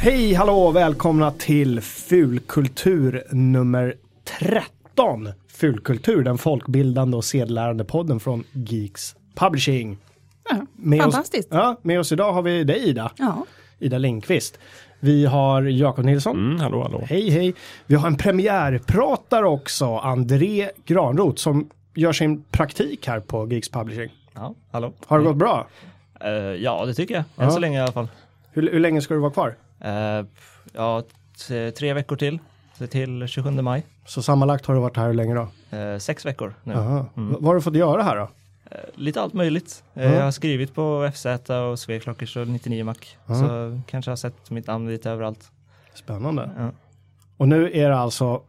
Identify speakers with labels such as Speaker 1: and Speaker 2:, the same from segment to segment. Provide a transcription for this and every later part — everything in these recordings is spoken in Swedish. Speaker 1: Hej, hallå, välkomna till Fulkultur nummer 13. Fulkultur, den folkbildande och sedelärande podden från Geeks Publishing.
Speaker 2: Ja,
Speaker 1: Med
Speaker 2: fantastiskt.
Speaker 1: Oss, ja, med oss idag har vi dig Ida,
Speaker 2: Ja.
Speaker 1: Ida Lindqvist. Vi har Jakob Nilsson.
Speaker 3: Mm, hallå, hallå.
Speaker 1: Hej, hej. Vi har en premiärpratare också, André Granroth, som gör sin praktik här på Geeks Publishing.
Speaker 4: Ja, hallå.
Speaker 1: Har det gått
Speaker 3: Mm.
Speaker 1: bra?
Speaker 4: Eh, ja, det tycker jag. Än
Speaker 1: Ja.
Speaker 4: så länge i alla fall.
Speaker 1: Hur, hur länge ska du vara kvar?
Speaker 4: Eh, pff, ja, t- tre veckor till. Så Till 27 maj.
Speaker 1: Så sammanlagt har du varit här hur länge då?
Speaker 4: Eh, sex veckor nu.
Speaker 1: Aha.
Speaker 3: Mm.
Speaker 1: Vad har du fått göra här då?
Speaker 4: Eh, lite allt möjligt. Eh,
Speaker 1: Ja.
Speaker 4: Jag har skrivit på FZ och Sveklockers och 99 Mac. Så kanske har sett mitt namn lite överallt.
Speaker 1: Spännande.
Speaker 4: Ja.
Speaker 1: Och nu är det alltså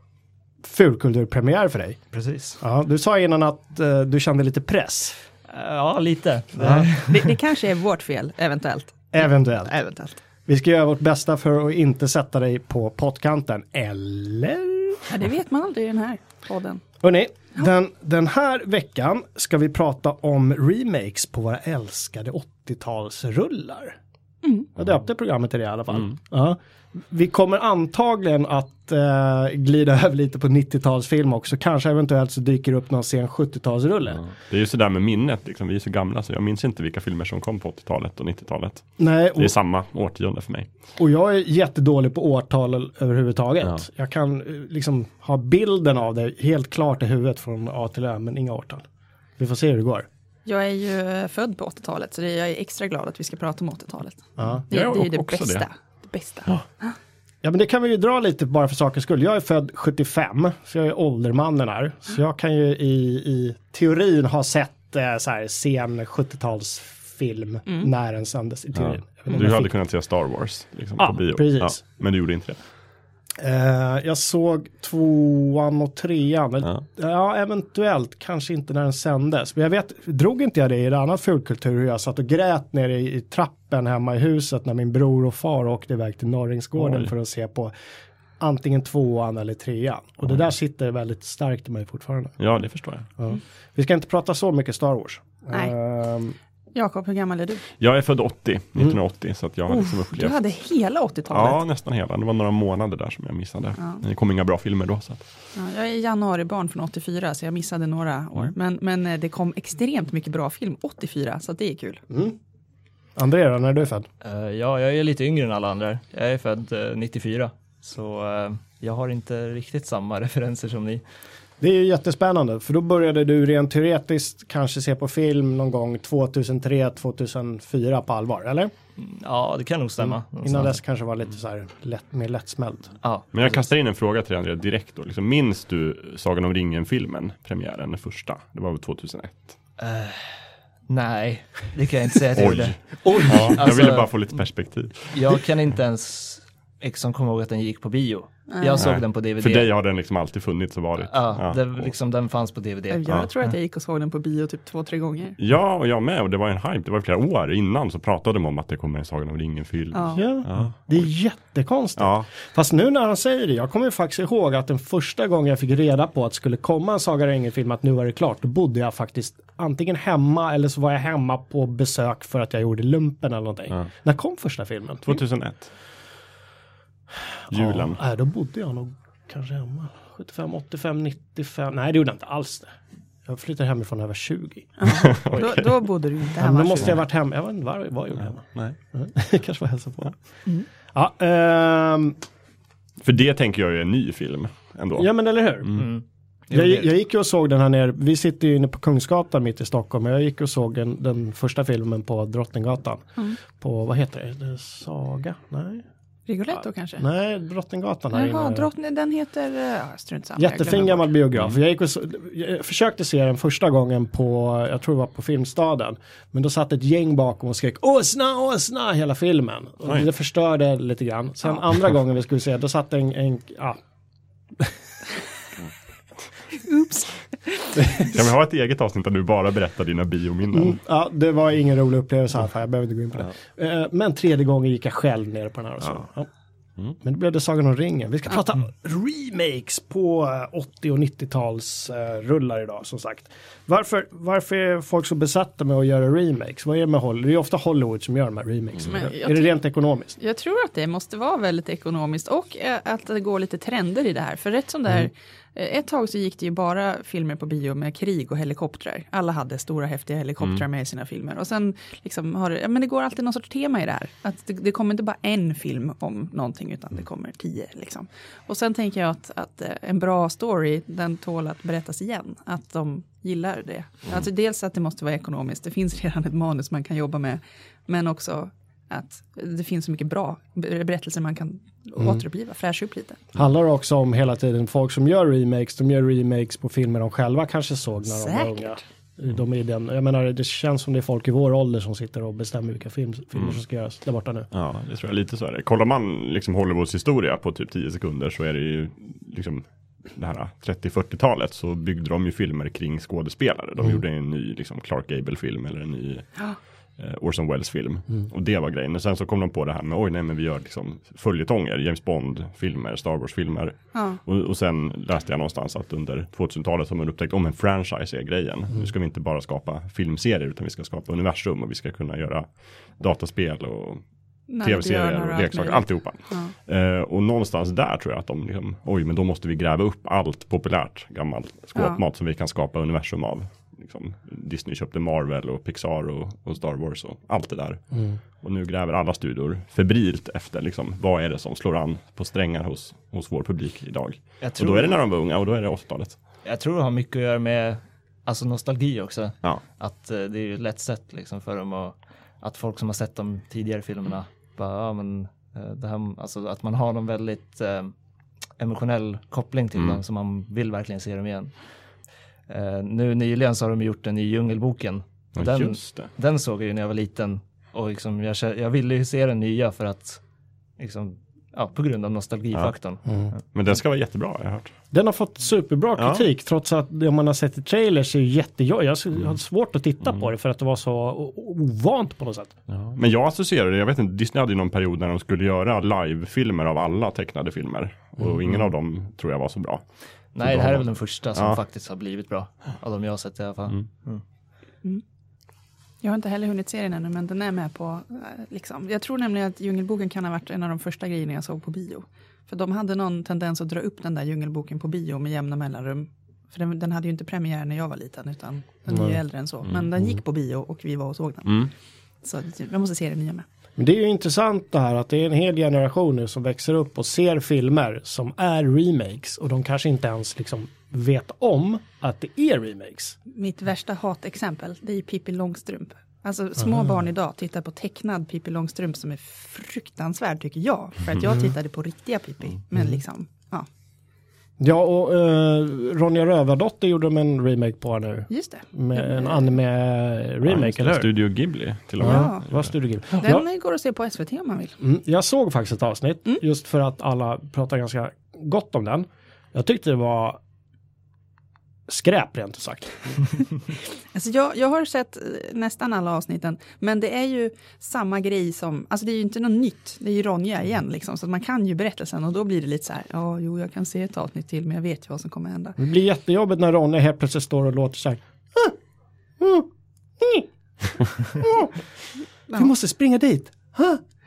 Speaker 1: fulkulturpremiär för dig.
Speaker 4: Precis.
Speaker 1: Ja, du sa innan att eh, du kände lite press.
Speaker 4: Eh, ja, lite.
Speaker 1: Ja.
Speaker 2: Det, det kanske är vårt fel, eventuellt.
Speaker 1: Eventuellt.
Speaker 2: eventuellt.
Speaker 1: Vi ska göra vårt bästa för att inte sätta dig på pottkanten. Eller?
Speaker 2: Ja, det vet man aldrig i den här podden.
Speaker 1: Hörrni, den, den här veckan ska vi prata om remakes på våra älskade 80-talsrullar. Jag döpte programmet till det i alla fall.
Speaker 3: Mm.
Speaker 1: Ja. Vi kommer antagligen att eh, glida över lite på 90-talsfilm också. Kanske eventuellt så dyker det upp någon sen 70-talsrulle.
Speaker 3: Det är ju sådär med minnet, liksom. vi är så gamla så jag minns inte vilka filmer som kom på 80-talet och 90-talet.
Speaker 1: Nej, och,
Speaker 3: Det är samma årtionde för mig.
Speaker 1: och jag är jättedålig på årtal överhuvudtaget.
Speaker 3: Ja.
Speaker 1: Jag kan eh, liksom ha bilden av det helt klart i huvudet från A till Ö, men inga årtal. Vi får se hur det går.
Speaker 2: Jag är ju eh, född på 80-talet, så det jag är extra glad att vi ska prata om 80-talet.
Speaker 1: Ja.
Speaker 2: Det,
Speaker 3: Jag
Speaker 2: det är ju
Speaker 3: är
Speaker 2: det
Speaker 3: också
Speaker 2: bästa.
Speaker 3: det.
Speaker 2: Det. bästa. Ja.
Speaker 1: Ja men det kan vi ju dra lite bara för sakens skull. Jag är född 75, så jag är åldermannen här. Så jag kan ju i, i teorin ha sett eh, så här sen 70-talsfilm när den sändes i teorin. Jag vet inte om
Speaker 3: Du
Speaker 1: jag
Speaker 3: hade
Speaker 1: fick-
Speaker 3: kunnat se Star Wars liksom,
Speaker 1: Ja,
Speaker 3: på bio.
Speaker 1: precis.
Speaker 3: men du gjorde inte det.
Speaker 1: Eh, jag såg tvåan och trean. Men, ja.
Speaker 3: Ja.
Speaker 1: eventuellt. Kanske inte när den sändes. Men jag vet, drog inte jag det i en annan fulkultur hur jag satt och grät nere i, i trappen hemma i huset när min bror och far åkte iväg till Norringsgården
Speaker 3: Oj.
Speaker 1: för att se på antingen tvåan eller trean. Och det där sitter väldigt starkt i mig fortfarande.
Speaker 3: Ja, det förstår jag.
Speaker 1: Ja. Vi ska inte prata så mycket Star Wars.
Speaker 2: Nej.
Speaker 1: Ehm,
Speaker 2: Jakob, hur gammal är du?
Speaker 3: Jag är född 80,
Speaker 1: Mm.
Speaker 3: 1980, så att jag har
Speaker 1: Oh,
Speaker 3: liksom
Speaker 2: Du
Speaker 3: upplevt
Speaker 2: hade hela 80-talet.
Speaker 3: Ja, nästan hela. Det var några månader där som jag missade. Det kom inga bra filmer då. Så att.
Speaker 2: Ja, jag är januaribarn från 84, så jag missade några
Speaker 1: Mm.
Speaker 2: år. Men, men eh, det kom extremt mycket bra film 84, så att det är kul.
Speaker 1: mm. André då, när är du född?
Speaker 4: Eh, ja, jag är lite yngre än alla andra. Jag är född eh, 94. Så eh, jag har inte riktigt samma referenser som ni.
Speaker 1: Det är ju jättespännande, för då började du rent teoretiskt kanske se på film någon gång 2003-2004 på allvar, eller?
Speaker 4: Ja, det kan nog stämma.
Speaker 1: Mm. Innan dess kanske var lite så här lätt, mer lättsmält.
Speaker 4: Ja,
Speaker 3: Men jag kastar in en fråga till dig André direkt. Då. Liksom, minns du Sagan om ringen-filmen, premiären, den första? Det var väl 2001?
Speaker 4: Nej, det kan jag inte säga att jag gjorde.
Speaker 3: Oj! Ja, jag
Speaker 4: Alltså-
Speaker 3: ville bara få lite perspektiv.
Speaker 4: Jag kan inte ens liksom komma ihåg att den gick på bio. Jag såg
Speaker 3: Nej.
Speaker 4: den på DVD.
Speaker 3: För dig har den liksom alltid funnits och varit.
Speaker 4: Ja,
Speaker 3: Ja,
Speaker 4: Den,
Speaker 3: och-
Speaker 4: liksom, den fanns på DVD.
Speaker 2: Jag tror att jag gick och såg den på bio typ två, tre gånger.
Speaker 3: Ja, och jag med. Och det var en hype. Det var flera år innan så pratade de om att det kommer en Sagan om ringen-film.
Speaker 2: Ja.
Speaker 1: Ja, det är jättekonstigt.
Speaker 3: Ja.
Speaker 1: Fast nu när han säger det, jag kommer ju faktiskt ihåg att den första gången jag fick reda på att det skulle komma en Sagan om ringen-film, att nu var det klart, då bodde jag faktiskt antingen hemma eller så var jag hemma på besök för att jag gjorde lumpen eller någonting. När kom första filmen?
Speaker 3: 2001. Julen.
Speaker 1: Ja, nej, då bodde jag nog kanske hemma. 75, 85, 95. Nej, det gjorde jag inte alls det. Jag flyttade hemifrån när jag var 20.
Speaker 2: Då, då bodde du inte
Speaker 1: Men
Speaker 2: hemma.
Speaker 1: då måste jag
Speaker 2: tjugo.
Speaker 1: varit hemma. Jag vet inte vad vad jag gjorde hemma.
Speaker 3: Nej.
Speaker 1: kanske var hälsa på. Ja, ehm,
Speaker 3: För det tänker jag ju är en ny film ändå.
Speaker 1: ja, men eller hur.
Speaker 4: Mm. Jo,
Speaker 1: Jag,
Speaker 4: det-
Speaker 1: jag gick ju och såg den här nere. Vi sitter ju inne på Kungsgatan mitt i Stockholm. Jag gick och såg den, den första filmen på Drottninggatan. På, vad heter det? det? är Saga? Nej.
Speaker 2: Rigoletto kanske?
Speaker 1: Nej, Drottninggatan här
Speaker 2: Jaha,
Speaker 1: inne.
Speaker 2: drottning, den heter... eh, ja, Strunt samma. jag
Speaker 1: Jättefin
Speaker 2: glömmer
Speaker 1: gammal
Speaker 2: bort.
Speaker 1: biograf. Jag, gick och, så- jag försökte se den första gången på, jag tror det var på Filmstaden. Men då satt ett gäng bakom och skrek åsna, åsna hela filmen. Och
Speaker 3: Oj.
Speaker 1: det förstörde lite grann. Sen andra gången vi skulle se, då satt en, en ja,
Speaker 2: Oops.
Speaker 3: Kan vi ha ett eget avsnitt där du bara berättar dina biominnen?
Speaker 1: ja, det var ingen rolig upplevelse i alla fall. Jag behöver inte gå in på det. Eh, Men tredje gången gick jag själv ner på den här och så. Ja. Men det blev det Sagan om ringen. Vi ska prata remakes på eh, 80 och 90-tals eh, rullar idag som sagt. Varför, varför är folk så besatta med att göra remakes? Vad är det med Hollywood? Det är ju ofta Hollywood som gör de här remakes.
Speaker 2: Men jag
Speaker 1: Är det
Speaker 2: tycker-
Speaker 1: rent ekonomiskt?
Speaker 2: Jag tror att det måste vara väldigt ekonomiskt och eh, att det går lite trender i det här. För rätt som det är, eh, ett tag så gick det ju bara filmer på bio med krig och helikoptrar. Alla hade stora häftiga helikoptrar med i sina filmer. Och sen liksom har det, ja, men det går alltid någon sorts tema i det här. Att det, det kommer inte bara en film om någonting utan det kommer tio liksom. Och sen tänker jag att, att eh, en bra story den tål att berättas igen. Att de gillar det. Alltså dels att det måste vara ekonomiskt. Det finns redan ett manus man kan jobba med. Men också att det finns så mycket bra ber- berättelser man kan
Speaker 3: Mm.
Speaker 2: återuppliva, fräscha upp lite.
Speaker 1: Handlar det också om hela tiden folk som gör remakes, de gör remakes på filmer de själva kanske såg när de var unga.
Speaker 2: Säkert.
Speaker 1: De är i den, jag menar det känns som det är folk i vår ålder som sitter och bestämmer vilka film, filmer som ska göras där borta nu.
Speaker 3: Ja, det tror jag lite så är det. Kollar man liksom Hollywoods historia på typ 10 sekunder så är det ju liksom det här 30-40-talet så byggde de ju filmer kring skådespelare. De gjorde en ny liksom Clark Gable-film eller en ny eh, Orson Welles-film. Och det var grejen. Och sen så kom de på det här med oj nej men vi gör liksom följetonger, James Bond-filmer, Star Wars-filmer.
Speaker 2: Ja.
Speaker 3: Och, och sen läste jag någonstans att under 2000-talet har man upptäckt om en franchise är grejen. Nu ska vi inte bara skapa filmserier utan vi ska skapa universum och vi ska kunna göra dataspel och
Speaker 2: När du gör
Speaker 3: tv-serier
Speaker 2: några
Speaker 3: och leksaker,
Speaker 2: allt möjligt.
Speaker 3: alltihopa. Eh, och någonstans där tror jag att de, liksom, oj men då måste vi gräva upp allt populärt gammalt skåpmat som vi kan skapa universum av. Liksom, Disney köpte Marvel och Pixar och, och Star Wars och allt det där.
Speaker 4: Mm.
Speaker 3: Och nu gräver alla studior febrilt efter liksom, vad är det som slår an på strängar hos, hos vår publik idag.
Speaker 4: Jag
Speaker 3: Och då
Speaker 4: tror-
Speaker 3: är det när de var unga och då är det 80-talet.
Speaker 4: Jag tror det har mycket att göra med alltså nostalgi också.
Speaker 3: Ja.
Speaker 4: Att eh, det är ju ett lätt sätt liksom för dem att, att folk som har sett de tidigare filmerna bara, ja men eh, det här, alltså att man har någon väldigt eh, emotionell koppling
Speaker 3: Mm.
Speaker 4: till dem så man vill verkligen se dem igen. Eh, nu nyligen så har de gjort en ny Djungelboken. Och
Speaker 3: Ja,
Speaker 4: den,
Speaker 3: just det.
Speaker 4: den såg jag ju när jag var liten och liksom jag, kä- jag ville ju se den nya för att liksom, ja, på grund av nostalgifaktorn.
Speaker 3: Men den ska vara jättebra har jag hört.
Speaker 1: Den har fått superbra
Speaker 3: Ja.
Speaker 1: kritik trots att det man har sett i trailers är jättejobbigt. Jag har svårt att titta på det för att det var så o- ovant på något sätt.
Speaker 3: Men jag associerar det, jag vet inte, Disney hade ju någon period när de skulle göra livefilmer av alla tecknade filmer. Och
Speaker 2: Mm.
Speaker 3: ingen av dem tror jag var så bra.
Speaker 4: Nej,
Speaker 3: då
Speaker 4: det här
Speaker 3: har
Speaker 4: är
Speaker 3: man-
Speaker 4: väl den första som
Speaker 3: Ja.
Speaker 4: faktiskt har blivit bra. Av de jag har sett i alla fall.
Speaker 2: Jag har inte heller hunnit se den ännu, men den är med på, eh, liksom. jag tror nämligen att Djungelboken kan ha varit en av de första grejerna jag såg på bio. För de hade någon tendens att dra upp den där Djungelboken på bio med jämna mellanrum. För den, den hade ju inte premiär när jag var liten, utan den är ju äldre än så.
Speaker 3: Mm.
Speaker 2: Men den gick på bio och vi var och såg den. Så jag måste se den nya med.
Speaker 1: Men det är ju intressant det här att det är en hel generation nu som växer upp och ser filmer som är remakes och de kanske inte ens liksom vet om att det är remakes.
Speaker 2: Mitt värsta hatexempel, det är ju Pippi Långstrump. Alltså små barn idag tittar på tecknad Pippi Långstrump som är fruktansvärd tycker jag. För att jag tittade på riktiga Pippi. Men liksom, ja,
Speaker 1: Ja och eh, Ronja Rövardotter gjorde de en remake på här nu.
Speaker 2: just det.
Speaker 1: Med en anime-remake,
Speaker 3: Ja,
Speaker 1: eller hur?
Speaker 3: Studio Ghibli till och med.
Speaker 2: Ja.
Speaker 1: Vad Studio Ghibli. Ja.
Speaker 2: Den går att se på SVT om man vill.
Speaker 1: Mm, jag såg faktiskt ett avsnitt
Speaker 2: Mm.
Speaker 1: just för att alla pratar ganska gott om den. Jag tyckte det var skräp rent ut sagt.
Speaker 2: Alltså jag, jag har sett eh, nästan alla avsnitten, men det är ju samma grej som, alltså det är ju inte något nytt, det är ju Ronja igen liksom, så att man kan ju berättelsen och då blir det lite så här, ja, jo, jag kan se ett avsnitt till, men jag vet ju vad som kommer hända.
Speaker 1: Det blir jättejobbigt när Ronja helt plötsligt står och låter så här. Vi måste springa dit.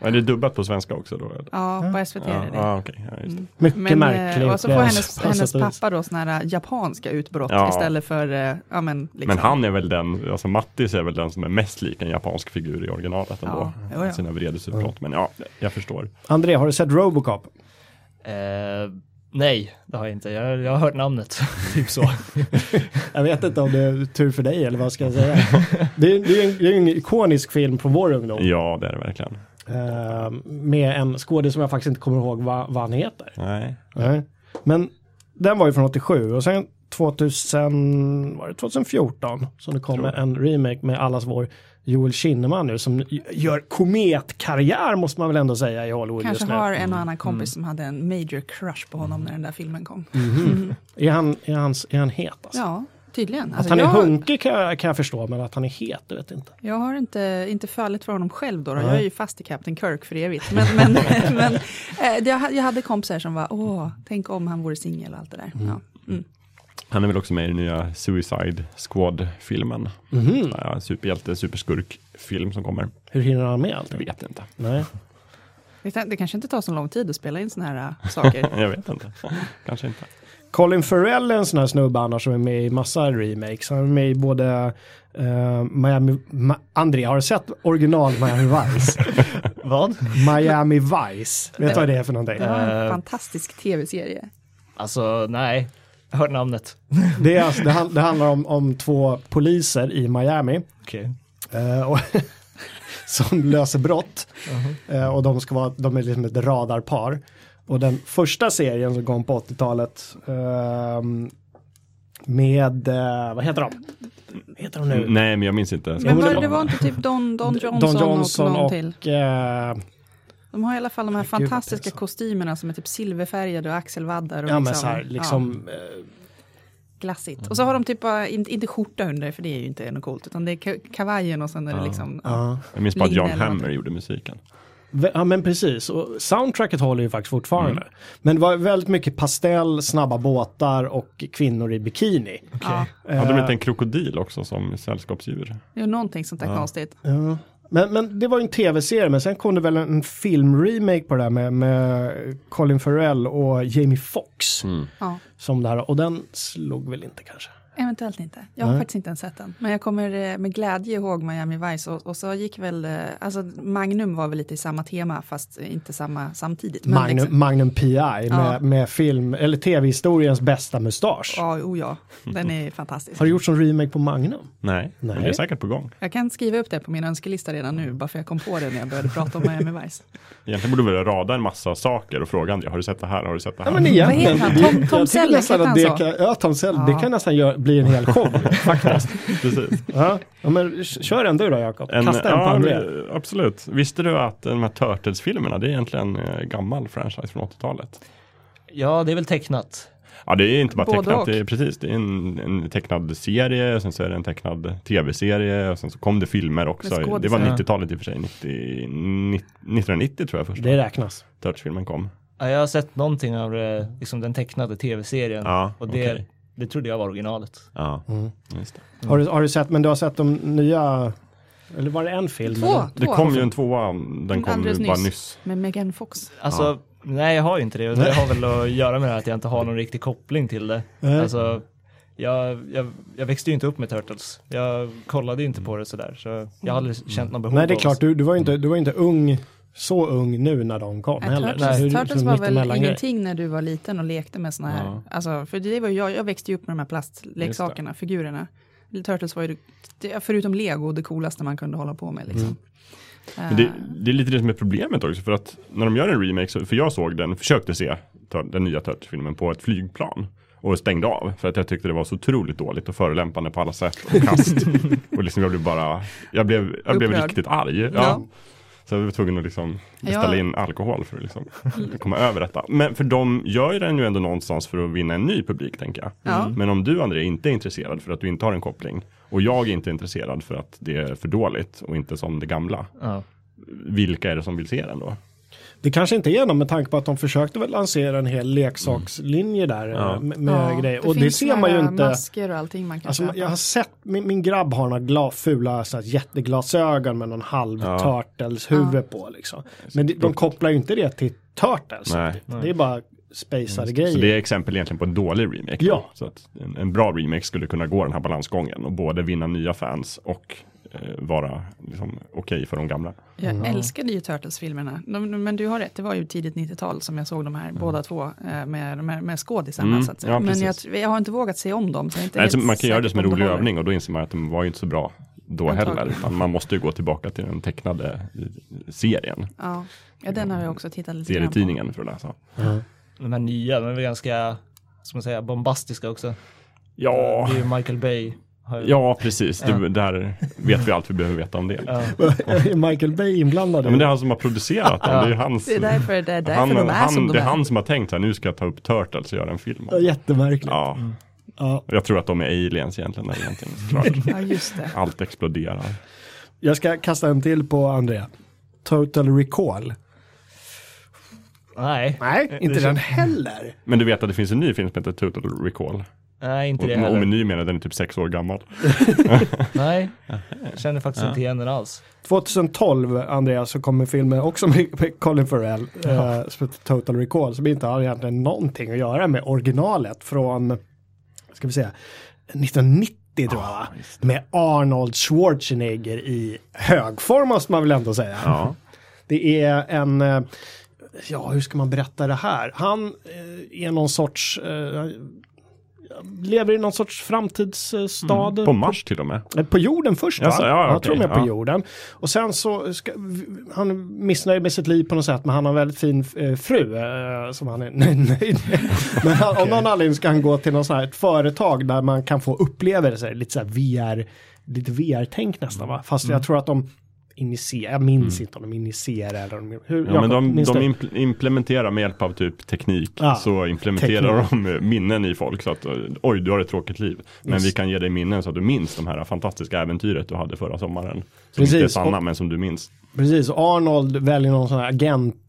Speaker 3: Är det dubbat på svenska också då? eller?
Speaker 2: Ja, på SVT är det Mm. det.
Speaker 3: ja okej. Ja, just det.
Speaker 1: Mycket
Speaker 2: Men,
Speaker 1: märkligt.
Speaker 2: eh, och
Speaker 1: Alltså,
Speaker 2: så
Speaker 1: det
Speaker 2: får
Speaker 1: är
Speaker 2: hennes,
Speaker 1: på
Speaker 2: hennes
Speaker 1: sätt och vis.
Speaker 2: pappa då sådana här äh, japanska utbrott
Speaker 3: Ja.
Speaker 2: istället för, eh, ja men liksom.
Speaker 3: Men han är väl den, alltså Mattis är väl den som är mest lik en japansk figur i originalet ändå.
Speaker 2: Ja, jo, ja.
Speaker 3: Sina vredesutbrott. Men ja, jag förstår.
Speaker 1: André, har du sett Robocop?
Speaker 4: Eh, nej, det har jag inte. Jag, jag har hört namnet. typ så.
Speaker 1: Jag vet inte om det är tur för dig eller vad ska jag säga. Det är, det är, en, det är en ikonisk film från vår ungdom.
Speaker 3: Ja, det är det verkligen.
Speaker 1: Eh, med en skådespelare som jag faktiskt inte kommer ihåg vad, vad han heter.
Speaker 3: Nej.
Speaker 1: Nej. Men den var ju från 87 och sen 2000, var det 2014 som det kom
Speaker 3: Tror jag.
Speaker 1: en remake med allas vår Joel Kinnaman nu som gör kometkarriär måste man väl ändå säga i Hollywood
Speaker 2: Kanske
Speaker 1: just nu.
Speaker 2: har en och annan kompis
Speaker 1: Mm.
Speaker 2: som hade en major crush på honom när den där filmen kom.
Speaker 1: Är, han, är, hans, är han het alltså?
Speaker 2: Ja, Tydligen.
Speaker 1: Att
Speaker 2: Alltså,
Speaker 1: han är
Speaker 2: jag,
Speaker 1: hunkig kan jag, kan jag förstå, men att han är het, det vet jag inte.
Speaker 2: jag har inte, inte fallit för honom själv då. då.
Speaker 1: Nej.
Speaker 2: Jag är ju fast i Captain Kirk för evigt. Men, men, men eh, det- jag ha- jag hade kompisar som var, åh, tänk om han vore singel och allt det där. Ja. Mm.
Speaker 3: Han är väl också med i den nya Suicide Squad-filmen.
Speaker 2: Mhm.
Speaker 3: Mm. Superhjälte, superskurk-film som kommer.
Speaker 1: Hur hinner han med allt?
Speaker 3: Jag vet inte.
Speaker 1: Nej.
Speaker 2: Det, kan- det kanske inte tar så lång tid att spela in sådana här eh, saker.
Speaker 3: Jag vet inte. Kanske inte.
Speaker 1: Colin Farrell är en sån här snubbe annars som är med i massa remakes. Han är med i både eh, Miami... Ma- André, har du sett original Miami Vice?
Speaker 4: Vad?
Speaker 1: Miami Vice. Vet du vad det är för någonting?
Speaker 2: Det var en
Speaker 4: Eh.
Speaker 2: fantastisk tv-serie.
Speaker 4: Alltså nej, jag hör namnet.
Speaker 1: Det, är alltså, det, han- det handlar om, om två poliser i Miami.
Speaker 4: Okej.
Speaker 1: Eh, och som löser brott. Eh, och de, ska vara, de är liksom ett radarpar. Och den första serien som kom på 80-talet ehm, med, eh, vad heter de? Vad Heter de
Speaker 4: Mm.
Speaker 1: nu?
Speaker 3: Nej, men jag minns inte.
Speaker 2: Men var, det var inte typ Don, Don Johnson,
Speaker 1: Don Johnson
Speaker 2: och någon
Speaker 1: och,
Speaker 2: till?
Speaker 1: eh,
Speaker 2: De har i alla fall de här
Speaker 1: vad
Speaker 2: fantastiska
Speaker 1: pinsamt.
Speaker 2: kostymerna som är typ silverfärgade och axelvaddar och
Speaker 1: ja, men
Speaker 2: liksom,
Speaker 1: så här, liksom, eh,
Speaker 2: ja, glassigt. Och så har de typ bara, inte, inte skjorta under för det är ju inte något coolt utan det är ka- kavajen och sen är det liksom, ja.
Speaker 1: ja.
Speaker 3: Jag minns bara att John
Speaker 2: Linnell
Speaker 3: Hammer gjorde musiken.
Speaker 1: Vä- Ja men precis, och soundtracket håller ju faktiskt fortfarande. Men det var väldigt mycket pastell, snabba båtar och kvinnor i bikini.
Speaker 2: ja.
Speaker 3: Hade de inte en krokodil också som sällskapsdjur?
Speaker 2: Det är någonting sånt där konstigt.
Speaker 1: Eh, Ja. Men, men det var ju en tv-serie, men sen kom det väl en filmremake på det här med, med Colin Farrell och Jamie Foxx.
Speaker 2: Ja.
Speaker 1: Som det här, och den slog väl inte kanske?
Speaker 2: Eventuellt inte. Jag har faktiskt inte ens sett den. Men jag kommer eh, med glädje ihåg Miami Vice och, och så gick väl, eh, alltså Magnum var väl lite i samma tema fast inte samma samtidigt. Men
Speaker 1: Magnum,
Speaker 2: liksom,
Speaker 1: Magnum P.I.
Speaker 2: Ja.
Speaker 1: Med, med film, eller tv-historiens bästa mustasch.
Speaker 2: ja, oh ja, den är fantastisk.
Speaker 1: Har du gjort som remake på Magnum?
Speaker 3: Nej,
Speaker 1: Nej.
Speaker 3: men det är säkert på gång.
Speaker 2: Jag kan skriva upp det på min önskelista redan nu, bara för jag kom på det när jag började prata om Miami Vice.
Speaker 3: Egentligen borde vi väl rada en massa saker och fråga André, har du sett det här? Har du sett det här?
Speaker 2: Vad heter han? Tom, Tom Selleck heter han
Speaker 1: det
Speaker 2: så?
Speaker 1: kan, ja, Tom Selleck, det kan nästan göra, bli en hel show. faktiskt.
Speaker 3: Precis.
Speaker 1: Ja. ja, men kör en du då Jakob. Kasta en på
Speaker 3: ja,
Speaker 1: André.
Speaker 3: men, eh, Absolut. Visste du att de här Turtles-filmerna, det är egentligen eh, gammal franchise från 80-talet?
Speaker 4: Ja, det är väl tecknat.
Speaker 3: Ja, det är inte bara
Speaker 2: Både
Speaker 3: tecknat,
Speaker 2: och.
Speaker 3: det är, precis, det är en, en tecknad serie, sen så är det en tecknad tv-serie, och sen så kom det filmer också.
Speaker 2: Med skådisar.
Speaker 3: Det var 90-talet i och för sig, 90, 90, 1990 tror jag första
Speaker 1: Det räknas.
Speaker 3: Turtles-filmen kom.
Speaker 4: Ja, jag har sett någonting av eh, liksom, den tecknade tv-serien
Speaker 3: Ja,
Speaker 4: och det,
Speaker 3: okej.
Speaker 4: det trodde jag var originalet.
Speaker 3: Ja, just det.
Speaker 1: Har, du, har du sett, men du har sett de nya, eller var det en film?
Speaker 2: Två,
Speaker 1: eller?
Speaker 2: två.
Speaker 3: Det kom ju en tvåa, den kom
Speaker 2: alldeles
Speaker 3: ju bara
Speaker 2: nyss.
Speaker 3: nyss.
Speaker 2: Med Megan Fox.
Speaker 4: Alltså, nej jag har ju inte det. Och Det har väl att göra med det här att jag inte har någon riktig koppling till det.
Speaker 1: Nej.
Speaker 4: Alltså, jag, jag, jag växte ju inte upp med Turtles. Jag kollade ju inte på det sådär. Så jag har aldrig känt någon behov
Speaker 1: Nej, det är
Speaker 4: av
Speaker 1: klart, du, du, var ju inte, du var ju inte ung, så ung nu när de kom
Speaker 2: Nej,
Speaker 1: heller.
Speaker 2: Turtles,
Speaker 1: Så hur-
Speaker 2: Turtles
Speaker 1: så
Speaker 2: var
Speaker 1: mitt
Speaker 2: väl
Speaker 1: emellan grej.
Speaker 2: ingenting när du var liten och lekte med såna här. Alltså, för det var ju jag, jag växte ju upp med de här plastleksakerna, figurerna. Turtles var ju, det- förutom lego, det coolaste man kunde hålla på med.
Speaker 1: Mm.
Speaker 2: Liksom.
Speaker 3: Men det, det är lite det som är problemet också, för att när de gör en remake, så, för jag såg den, försökte se Tur- den nya Turtles-filmen på ett flygplan och stängde av för att jag tyckte det var så otroligt dåligt och förolämpande på alla sätt och kast. och liksom jag blev bara, jag blev, jag blev
Speaker 2: Upprörd.
Speaker 3: riktigt arg. Ja.
Speaker 2: Ja.
Speaker 3: Så jag var tvungen att liksom beställa
Speaker 2: Ja.
Speaker 3: in alkohol för att liksom komma över detta. Men för de gör ju den ju ändå någonstans för att vinna en ny publik tänker jag.
Speaker 2: Ja.
Speaker 3: Mm.
Speaker 1: Mm.
Speaker 3: Men om du André inte är intresserad för att du inte har en koppling och jag är inte intresserad för att det är för dåligt och inte som det gamla
Speaker 4: Ja.
Speaker 3: vilka är det som vill se den då?
Speaker 1: Det kanske inte är någon med tanke på att de försökte väl lansera en hel leksakslinje där eh, med, med grejer. Och det,
Speaker 2: finns
Speaker 1: ser
Speaker 2: såna
Speaker 1: man ju
Speaker 2: här
Speaker 1: inte.
Speaker 2: masker och allting man kan
Speaker 1: Alltså,
Speaker 2: köpa.
Speaker 1: jag har sett, min, min grabb har några gla, fula så här, jätteglasögon med någon halv turtles huvud på. Liksom. Men de, de kopplar ju inte det till turtles.
Speaker 3: Nej.
Speaker 1: Det är bara spejsade grejer.
Speaker 3: Så det är exempel egentligen på en dålig remake. då.
Speaker 1: Ja.
Speaker 3: Så att en, en bra remake skulle kunna gå den här balansgången och både vinna nya fans och eh, vara liksom, okej för de gamla.
Speaker 2: Jag älskade ju Turtles-filmerna. De, de- men du har rätt, det var ju tidigt 90-tal som jag såg de här båda två eh, med, de här- med skådisarna.
Speaker 3: Mm,
Speaker 2: Så att säga.
Speaker 3: ja,
Speaker 2: men
Speaker 3: precis.
Speaker 2: jag, tr- jag har inte vågat se om dem. Så jag är inte
Speaker 3: Alltså,
Speaker 2: helt
Speaker 3: man kan göra det
Speaker 2: säker
Speaker 3: som en
Speaker 2: på om
Speaker 3: rolig
Speaker 2: håller.
Speaker 3: övning och då inser man att de var ju inte så bra då
Speaker 2: Antagligen.
Speaker 3: heller. Utan man måste ju gå tillbaka till den tecknade eh, serien,
Speaker 2: Ja. ja, den har jag också tittat lite grann på.
Speaker 3: serietidningen för att läsa.
Speaker 4: De här nya, de är väl ganska, ska man säga, bombastiska också.
Speaker 3: Ja,
Speaker 4: Det är ju Michael Bay. Har ju,
Speaker 3: ja precis. Det, där vet vi allt vi behöver veta om det. Ja.
Speaker 1: är Michael Bay inblandad? i
Speaker 3: men det är han som har producerat den. Det är ju hans...
Speaker 2: Det är därför, det är därför
Speaker 3: han,
Speaker 2: de är
Speaker 3: han,
Speaker 2: som de
Speaker 3: det
Speaker 2: är.
Speaker 3: är han som har tänkt så här, nu ska jag ta upp Turtles och göra en film. om
Speaker 1: Jättemärkligt.
Speaker 3: Ja,
Speaker 1: Ja.
Speaker 3: Jag tror att de är aliens egentligen eller någonting. såklart.
Speaker 2: Ja, just det.
Speaker 3: Allt exploderar.
Speaker 1: Jag ska kasta en till på Andrea. Total Recall.
Speaker 4: Nej,
Speaker 1: Nej, inte den heller.
Speaker 3: Men du vet att det finns en ny film som heter Total Recall.
Speaker 4: nej inte
Speaker 3: Och,
Speaker 4: det
Speaker 3: och med
Speaker 4: heller.
Speaker 3: ny menar jag den är typ sex år gammal.
Speaker 4: Nej, jag känner faktiskt inte igen den alls.
Speaker 1: 2012, Andrea, så kommer filmen också med med Colin Farrell, eh, som heter Total Recall, som inte har egentligen någonting att göra med originalet från, ska vi säga, 1990 tror jag, va? med Arnold Schwarzenegger i högform måste man väl ändå säga.
Speaker 3: Ja.
Speaker 1: Det är en, eh, ja hur ska man berätta det här? Han eh, är någon sorts, eh, lever i någon sorts framtidsstad.
Speaker 3: På Mars till och med.
Speaker 1: Eh, På jorden först va?
Speaker 3: Jaså, ja,
Speaker 1: jag
Speaker 3: okej,
Speaker 1: tror de är på
Speaker 3: ja.
Speaker 1: jorden. Och sen så, ska, v- han är missnöjd med sitt liv på något sätt, men han har en väldigt fin eh, fru eh, som han är nöjd med. Men han, av någon anledning ska han gå till något sånt här, ett företag där man kan få upplevelser, lite så här VR, lite VR-tänk nästan va? Fast
Speaker 3: Mm.
Speaker 1: jag tror att de initierar, jag minns inte om de initierar eller om de, hur,
Speaker 3: Ja, men
Speaker 1: Jakob,
Speaker 3: de,
Speaker 1: minns
Speaker 3: de
Speaker 1: du?
Speaker 3: impl- implementerar med hjälp av typ teknik.
Speaker 1: Ja,
Speaker 3: Så implementerar de eh, minnen i folk. Så att eh, oj, du har ett tråkigt liv. Men
Speaker 1: Just.
Speaker 3: vi kan ge dig minnen så att du minns de här fantastiska äventyret du hade förra sommaren. Som
Speaker 1: Precis,
Speaker 3: inte är sanna
Speaker 1: och-
Speaker 3: men som du minns.
Speaker 1: Precis, och Arnold väljer någon sån här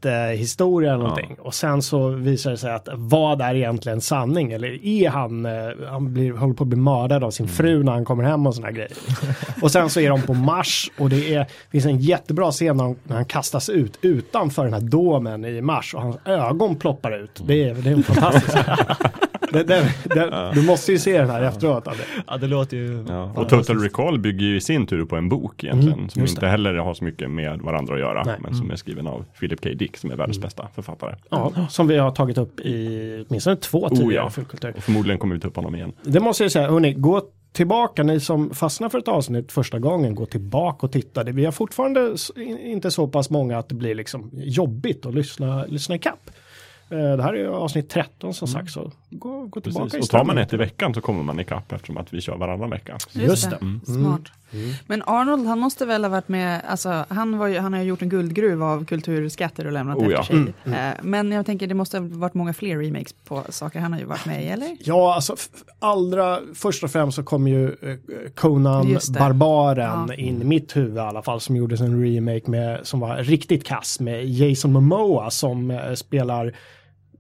Speaker 1: agenthistoria eller någonting. Och sen så visar det sig att vad är egentligen sanning? Eller är han, eh, han blir, håller på att bli mördad av sin
Speaker 3: Mm.
Speaker 1: fru när han kommer hem och såna här grejer. och sen så är de på Mars och det är, finns en jättebra scen när han, när han kastas ut utanför den här domen i Mars och hans ögon ploppar ut. Det är, det är en fantastisk den, den, den, Du måste ju se den här efteråt. Adde.
Speaker 4: Ja, det låter ju...
Speaker 3: Och Total Recall bygger ju i sin tur på en bok egentligen. som
Speaker 1: Mm-hmm. just
Speaker 3: inte heller har så mycket med varandra att göra.
Speaker 1: Nej. Mm.
Speaker 3: Men som är skriven av Philip K. Dick som är världens bästa författare.
Speaker 1: Ja, som vi har tagit upp i åtminstone två tidigare
Speaker 3: Oh, ja.
Speaker 1: fullkultur.
Speaker 3: Och förmodligen kommer vi ta upp honom igen.
Speaker 1: Det måste jag säga, hörni, gå tillbaka, ni som fastnar för ett avsnitt första gången, gå tillbaka och titta. Det- Vi har fortfarande s- in- inte så pass många att det blir liksom jobbigt att lyssna, lyssna ikapp. Eh, Det här är ju avsnitt 13 som sagt, så gå, gå tillbaka
Speaker 3: Precis.
Speaker 1: i
Speaker 3: Och tar man
Speaker 1: stämningen.
Speaker 3: ett i veckan så kommer man ikapp eftersom att vi kör varannan vecka.
Speaker 1: Just det.
Speaker 3: Mm.
Speaker 2: Smart.
Speaker 1: Mm.
Speaker 2: Men Arnold, han måste väl ha varit med, alltså, han, var ju, han har ju gjort en guldgruva av kulturskatter och lämnat
Speaker 3: Oh ja.
Speaker 2: efter sig. Eh, Men jag tänker, det måste ha varit många fler remakes på saker han har ju varit med i, eller?
Speaker 1: Ja, alltså f- allra först och främst så kom ju eh, Conan
Speaker 2: Just det.
Speaker 1: Barbaren
Speaker 2: Ja.
Speaker 1: in i mitt huvud i alla fall som gjordes en remake med, som var riktigt kass med Jason Momoa som eh, spelar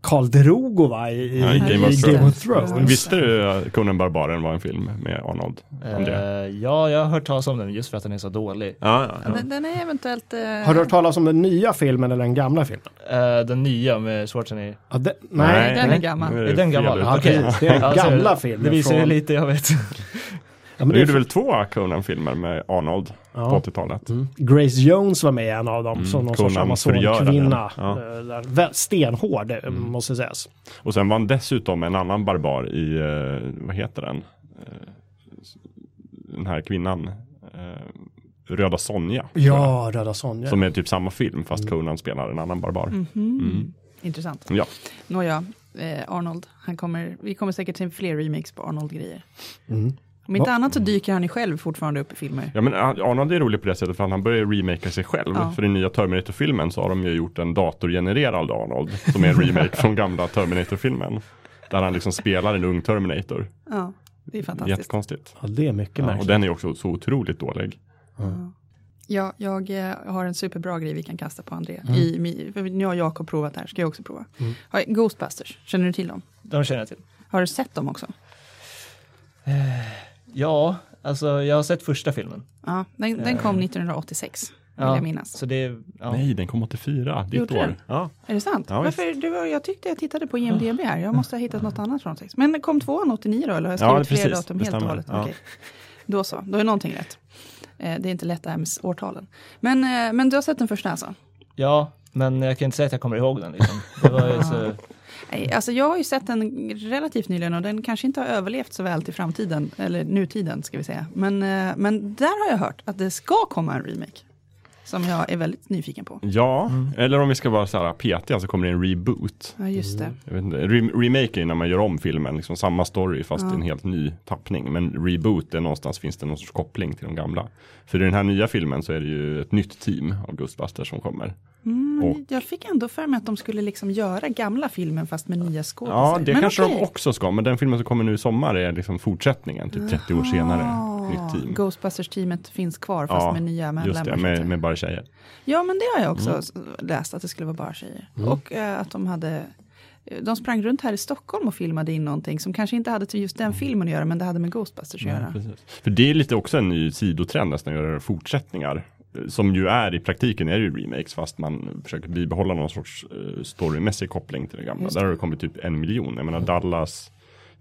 Speaker 1: Karl Drogo va, i, i,
Speaker 3: Ja, i
Speaker 1: Game,
Speaker 3: Game
Speaker 1: of
Speaker 3: of
Speaker 1: Thrones.
Speaker 2: Just
Speaker 3: Visste du att Conan Barbaren var en film med Arnold? André?
Speaker 4: Eh, ja, jag har hört talas om den just för att den är så dålig.
Speaker 3: Ja, ja,
Speaker 2: Den, den är eventuellt... eh,
Speaker 1: Har du hört talas om den nya filmen eller den gamla filmen?
Speaker 4: Eh, den nya med Schwarzenegger.
Speaker 1: Ja, det, nej.
Speaker 2: den är gammal.
Speaker 3: Nu
Speaker 4: Är den
Speaker 3: fel
Speaker 4: gammal?
Speaker 3: ute.
Speaker 1: Ja,
Speaker 4: Eh, Okej.
Speaker 1: precis. Det är den
Speaker 4: Ja, så
Speaker 1: gamla
Speaker 4: det-
Speaker 1: filmen
Speaker 4: Det visar ju
Speaker 1: från-
Speaker 4: lite, jag vet.
Speaker 1: Ja, men
Speaker 3: Du
Speaker 1: det är
Speaker 3: gjorde väl två Conan-filmer med Arnold på 80-talet?
Speaker 1: Mm. Grace Jones var med i en av dem som någon sorts
Speaker 3: Mm, Conan förgöraren.
Speaker 1: amazonkvinna.
Speaker 3: Ja. Mm.
Speaker 1: Eh, där. Vä- Stenhård eh, måste sägas.
Speaker 3: Och sen var han dessutom en annan barbar i, eh, vad heter den? Eh, Den här kvinnan. eh, Röda Sonja. tror jag.
Speaker 1: Ja, Röda Sonja.
Speaker 3: Som är typ samma film fast Conan spelar en annan barbar.
Speaker 2: Mm. Mhm. Intressant.
Speaker 3: Ja,
Speaker 2: Nåja, eh, Arnold, han kommer, vi kommer säkert se fler remakes på Arnold-grejer.
Speaker 1: Mm.
Speaker 2: Om inte
Speaker 1: Va-
Speaker 2: annat så dyker han ju själv fortfarande upp i filmer.
Speaker 3: ja men Arnold är rolig på det sättet för att han börjar remakea sig själv.
Speaker 2: Ja.
Speaker 3: För i nya Terminator-filmen så har de ju gjort en datorgenererad Arnold. Som är en remake från gamla Terminator-filmen. Där han liksom spelar en ung Terminator.
Speaker 2: Ja, det är fantastiskt.
Speaker 3: Jättekonstigt.
Speaker 1: Ja, det är mycket
Speaker 3: Ja, och
Speaker 1: märkligt.
Speaker 3: den är också så otroligt dålig.
Speaker 2: Ja, jag eh, har en superbra grej vi kan kasta på André. I, mi- för nu har Jakob provat det här, ska jag också prova. Har- Ghostbusters, känner du till dem?
Speaker 4: De känner jag till.
Speaker 2: Har du sett dem också?
Speaker 4: Ja, alltså jag har sett första filmen.
Speaker 2: Ja, den, den kom 1986, vill
Speaker 4: ja,
Speaker 2: jag minnas.
Speaker 4: Så det är, ja.
Speaker 3: Nej, den kom 84, ditt
Speaker 2: Gjorde
Speaker 3: år.
Speaker 2: den?
Speaker 3: Ja.
Speaker 2: Är det sant?
Speaker 3: Ja, visst.
Speaker 2: Varför, du, jag tyckte jag tittade på IMDB här, jag måste ha hittat något annat från sex. Men kom tvåan 89 då, eller har jag
Speaker 3: Ja,
Speaker 2: skrivit fel
Speaker 3: precis.
Speaker 2: datum
Speaker 3: Det
Speaker 2: helt och
Speaker 3: stämmer.
Speaker 2: hållet?
Speaker 3: Ja.
Speaker 2: Okej. Då så, då är någonting rätt. Eh, Det är inte lätt det här med årtalen. Men, eh, men du har sett den första alltså?
Speaker 4: ja, men jag kan inte säga att jag kommer ihåg den liksom. Det var ju så,
Speaker 2: Nej, alltså jag har ju sett den relativt nyligen och den kanske inte har överlevt så väl till framtiden, eller nutiden ska vi säga. Men, eh, men där har jag hört att det ska komma en remake. Som jag är väldigt nyfiken på.
Speaker 3: Ja, eller om vi ska vara så här petiga så kommer det en reboot.
Speaker 2: Ja, just det.
Speaker 3: Jag vet inte, re- remake är ju när man gör om filmen, liksom samma story fast i en helt ny tappning. Men reboot är någonstans, finns det någon sorts koppling till de gamla. För i den här nya filmen så är det ju ett nytt team av Ghostbusters som kommer. Och-
Speaker 2: Jag fick ändå för mig att de skulle liksom göra gamla filmen fast med nya skådespelare.
Speaker 3: Ja, det
Speaker 2: Men
Speaker 3: kanske
Speaker 2: okej.
Speaker 3: de också ska, men den filmen som kommer nu i sommar är liksom fortsättningen, typ 30 år senare. Nytt team.
Speaker 2: Ghostbusters-teamet finns kvar Ah. fast med nya medlemmar.
Speaker 3: just det,
Speaker 2: så att
Speaker 3: med,
Speaker 2: säga.
Speaker 3: med Mm. bara tjejer.
Speaker 2: Ja, men det har jag också s- läst att det skulle vara bara tjejer.
Speaker 3: Mm.
Speaker 2: Och eh, att de hade eh, de sprang runt här i Stockholm och filmade in någonting som kanske inte hade till just den filmen att göra, men det hade med Ghostbusters att göra.
Speaker 3: För det är lite också en ny sidotrend nästan, att göra fortsättningar. Eh, Som ju är i praktiken är det ju remakes fast man försöker bibehålla någon sorts eh, storymässig koppling till det gamla.
Speaker 2: Just
Speaker 3: Där har det kommit typ en miljon. Jag menar Dallas,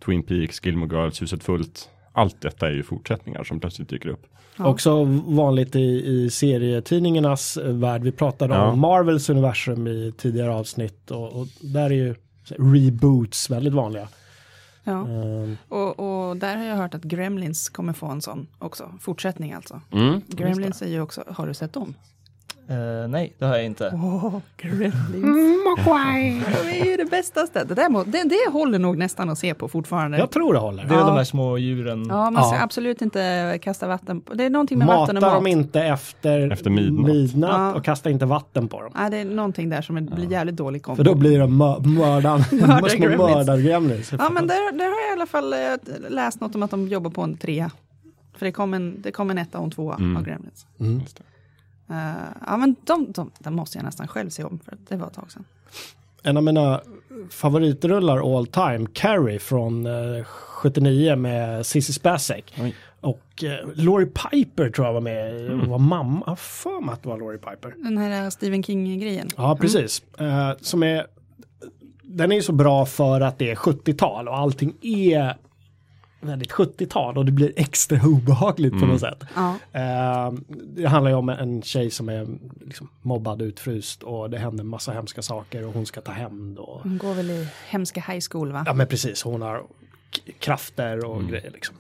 Speaker 3: Twin Peaks, Gilmore Girls, Huset Fullt. Allt detta är ju fortsättningar som plötsligt dyker upp.
Speaker 1: Också vanligt i, i serietidningarnas eh, värld. Vi pratade
Speaker 3: Ja.
Speaker 1: om Marvels universum i tidigare avsnitt och, och där är ju reboots väldigt vanliga.
Speaker 2: Ja.
Speaker 3: Mm.
Speaker 1: Ehm,
Speaker 2: Och, och där har jag hört att Gremlins kommer få en sån också, fortsättning alltså.
Speaker 3: Mm.
Speaker 2: Gremlins är ju också, har du sett dem?
Speaker 4: Eh, nej, det har jag inte.
Speaker 2: Åh, Gremlins. de är ju det bästaste. Det, där må, det, det håller nog nästan att se på fortfarande.
Speaker 1: jag tror det håller.
Speaker 4: Det är
Speaker 2: Ja.
Speaker 4: de här små djuren.
Speaker 2: Ja, man ska
Speaker 1: Ja.
Speaker 2: absolut inte kasta vatten på. Det är någonting med vatten och
Speaker 1: Mata
Speaker 2: mat.
Speaker 1: dem inte efter,
Speaker 3: Efter midnatt.
Speaker 1: midnatt
Speaker 2: Ja.
Speaker 1: och kasta inte vatten på dem.
Speaker 2: Nej, det är någonting där som är- blir jävligt dålig kombo.
Speaker 1: För då blir de mö- mördan, små
Speaker 2: Mördargremlins.
Speaker 1: mördargremlins.
Speaker 2: Ja, men där, där har jag i alla fall eh, läst något om att de jobbar på en trea. För det kom en, det kom en etta och en tvåa
Speaker 1: Mm.
Speaker 2: av Gremlins.
Speaker 3: Just det.
Speaker 2: Eh, ja, men de, de, de måste jag nästan själv se om för att det var ett tag sedan.
Speaker 1: En av mina favoritrullar all time, Carrie från eh, 79 med Cissi Spacek.
Speaker 3: Oj.
Speaker 1: Och eh, Laurie Piper tror jag var med i, och var mamma. Jag har för mig att det var Laurie Piper.
Speaker 2: Den här eh, Stephen King-grejen.
Speaker 1: Ja, precis. Eh, som är, den är ju så bra för att det är 70-tal och allting är väldigt 70-tal och det blir extra obehagligt på något sätt.
Speaker 2: Ja.
Speaker 1: Eh, det handlar ju om en tjej som är liksom, mobbad, utfryst och det händer massa hemska saker och hon ska ta hämnd. Och...
Speaker 2: Hon går väl i hemska high school va?
Speaker 1: Ja men precis, hon har k- krafter och grejer liksom.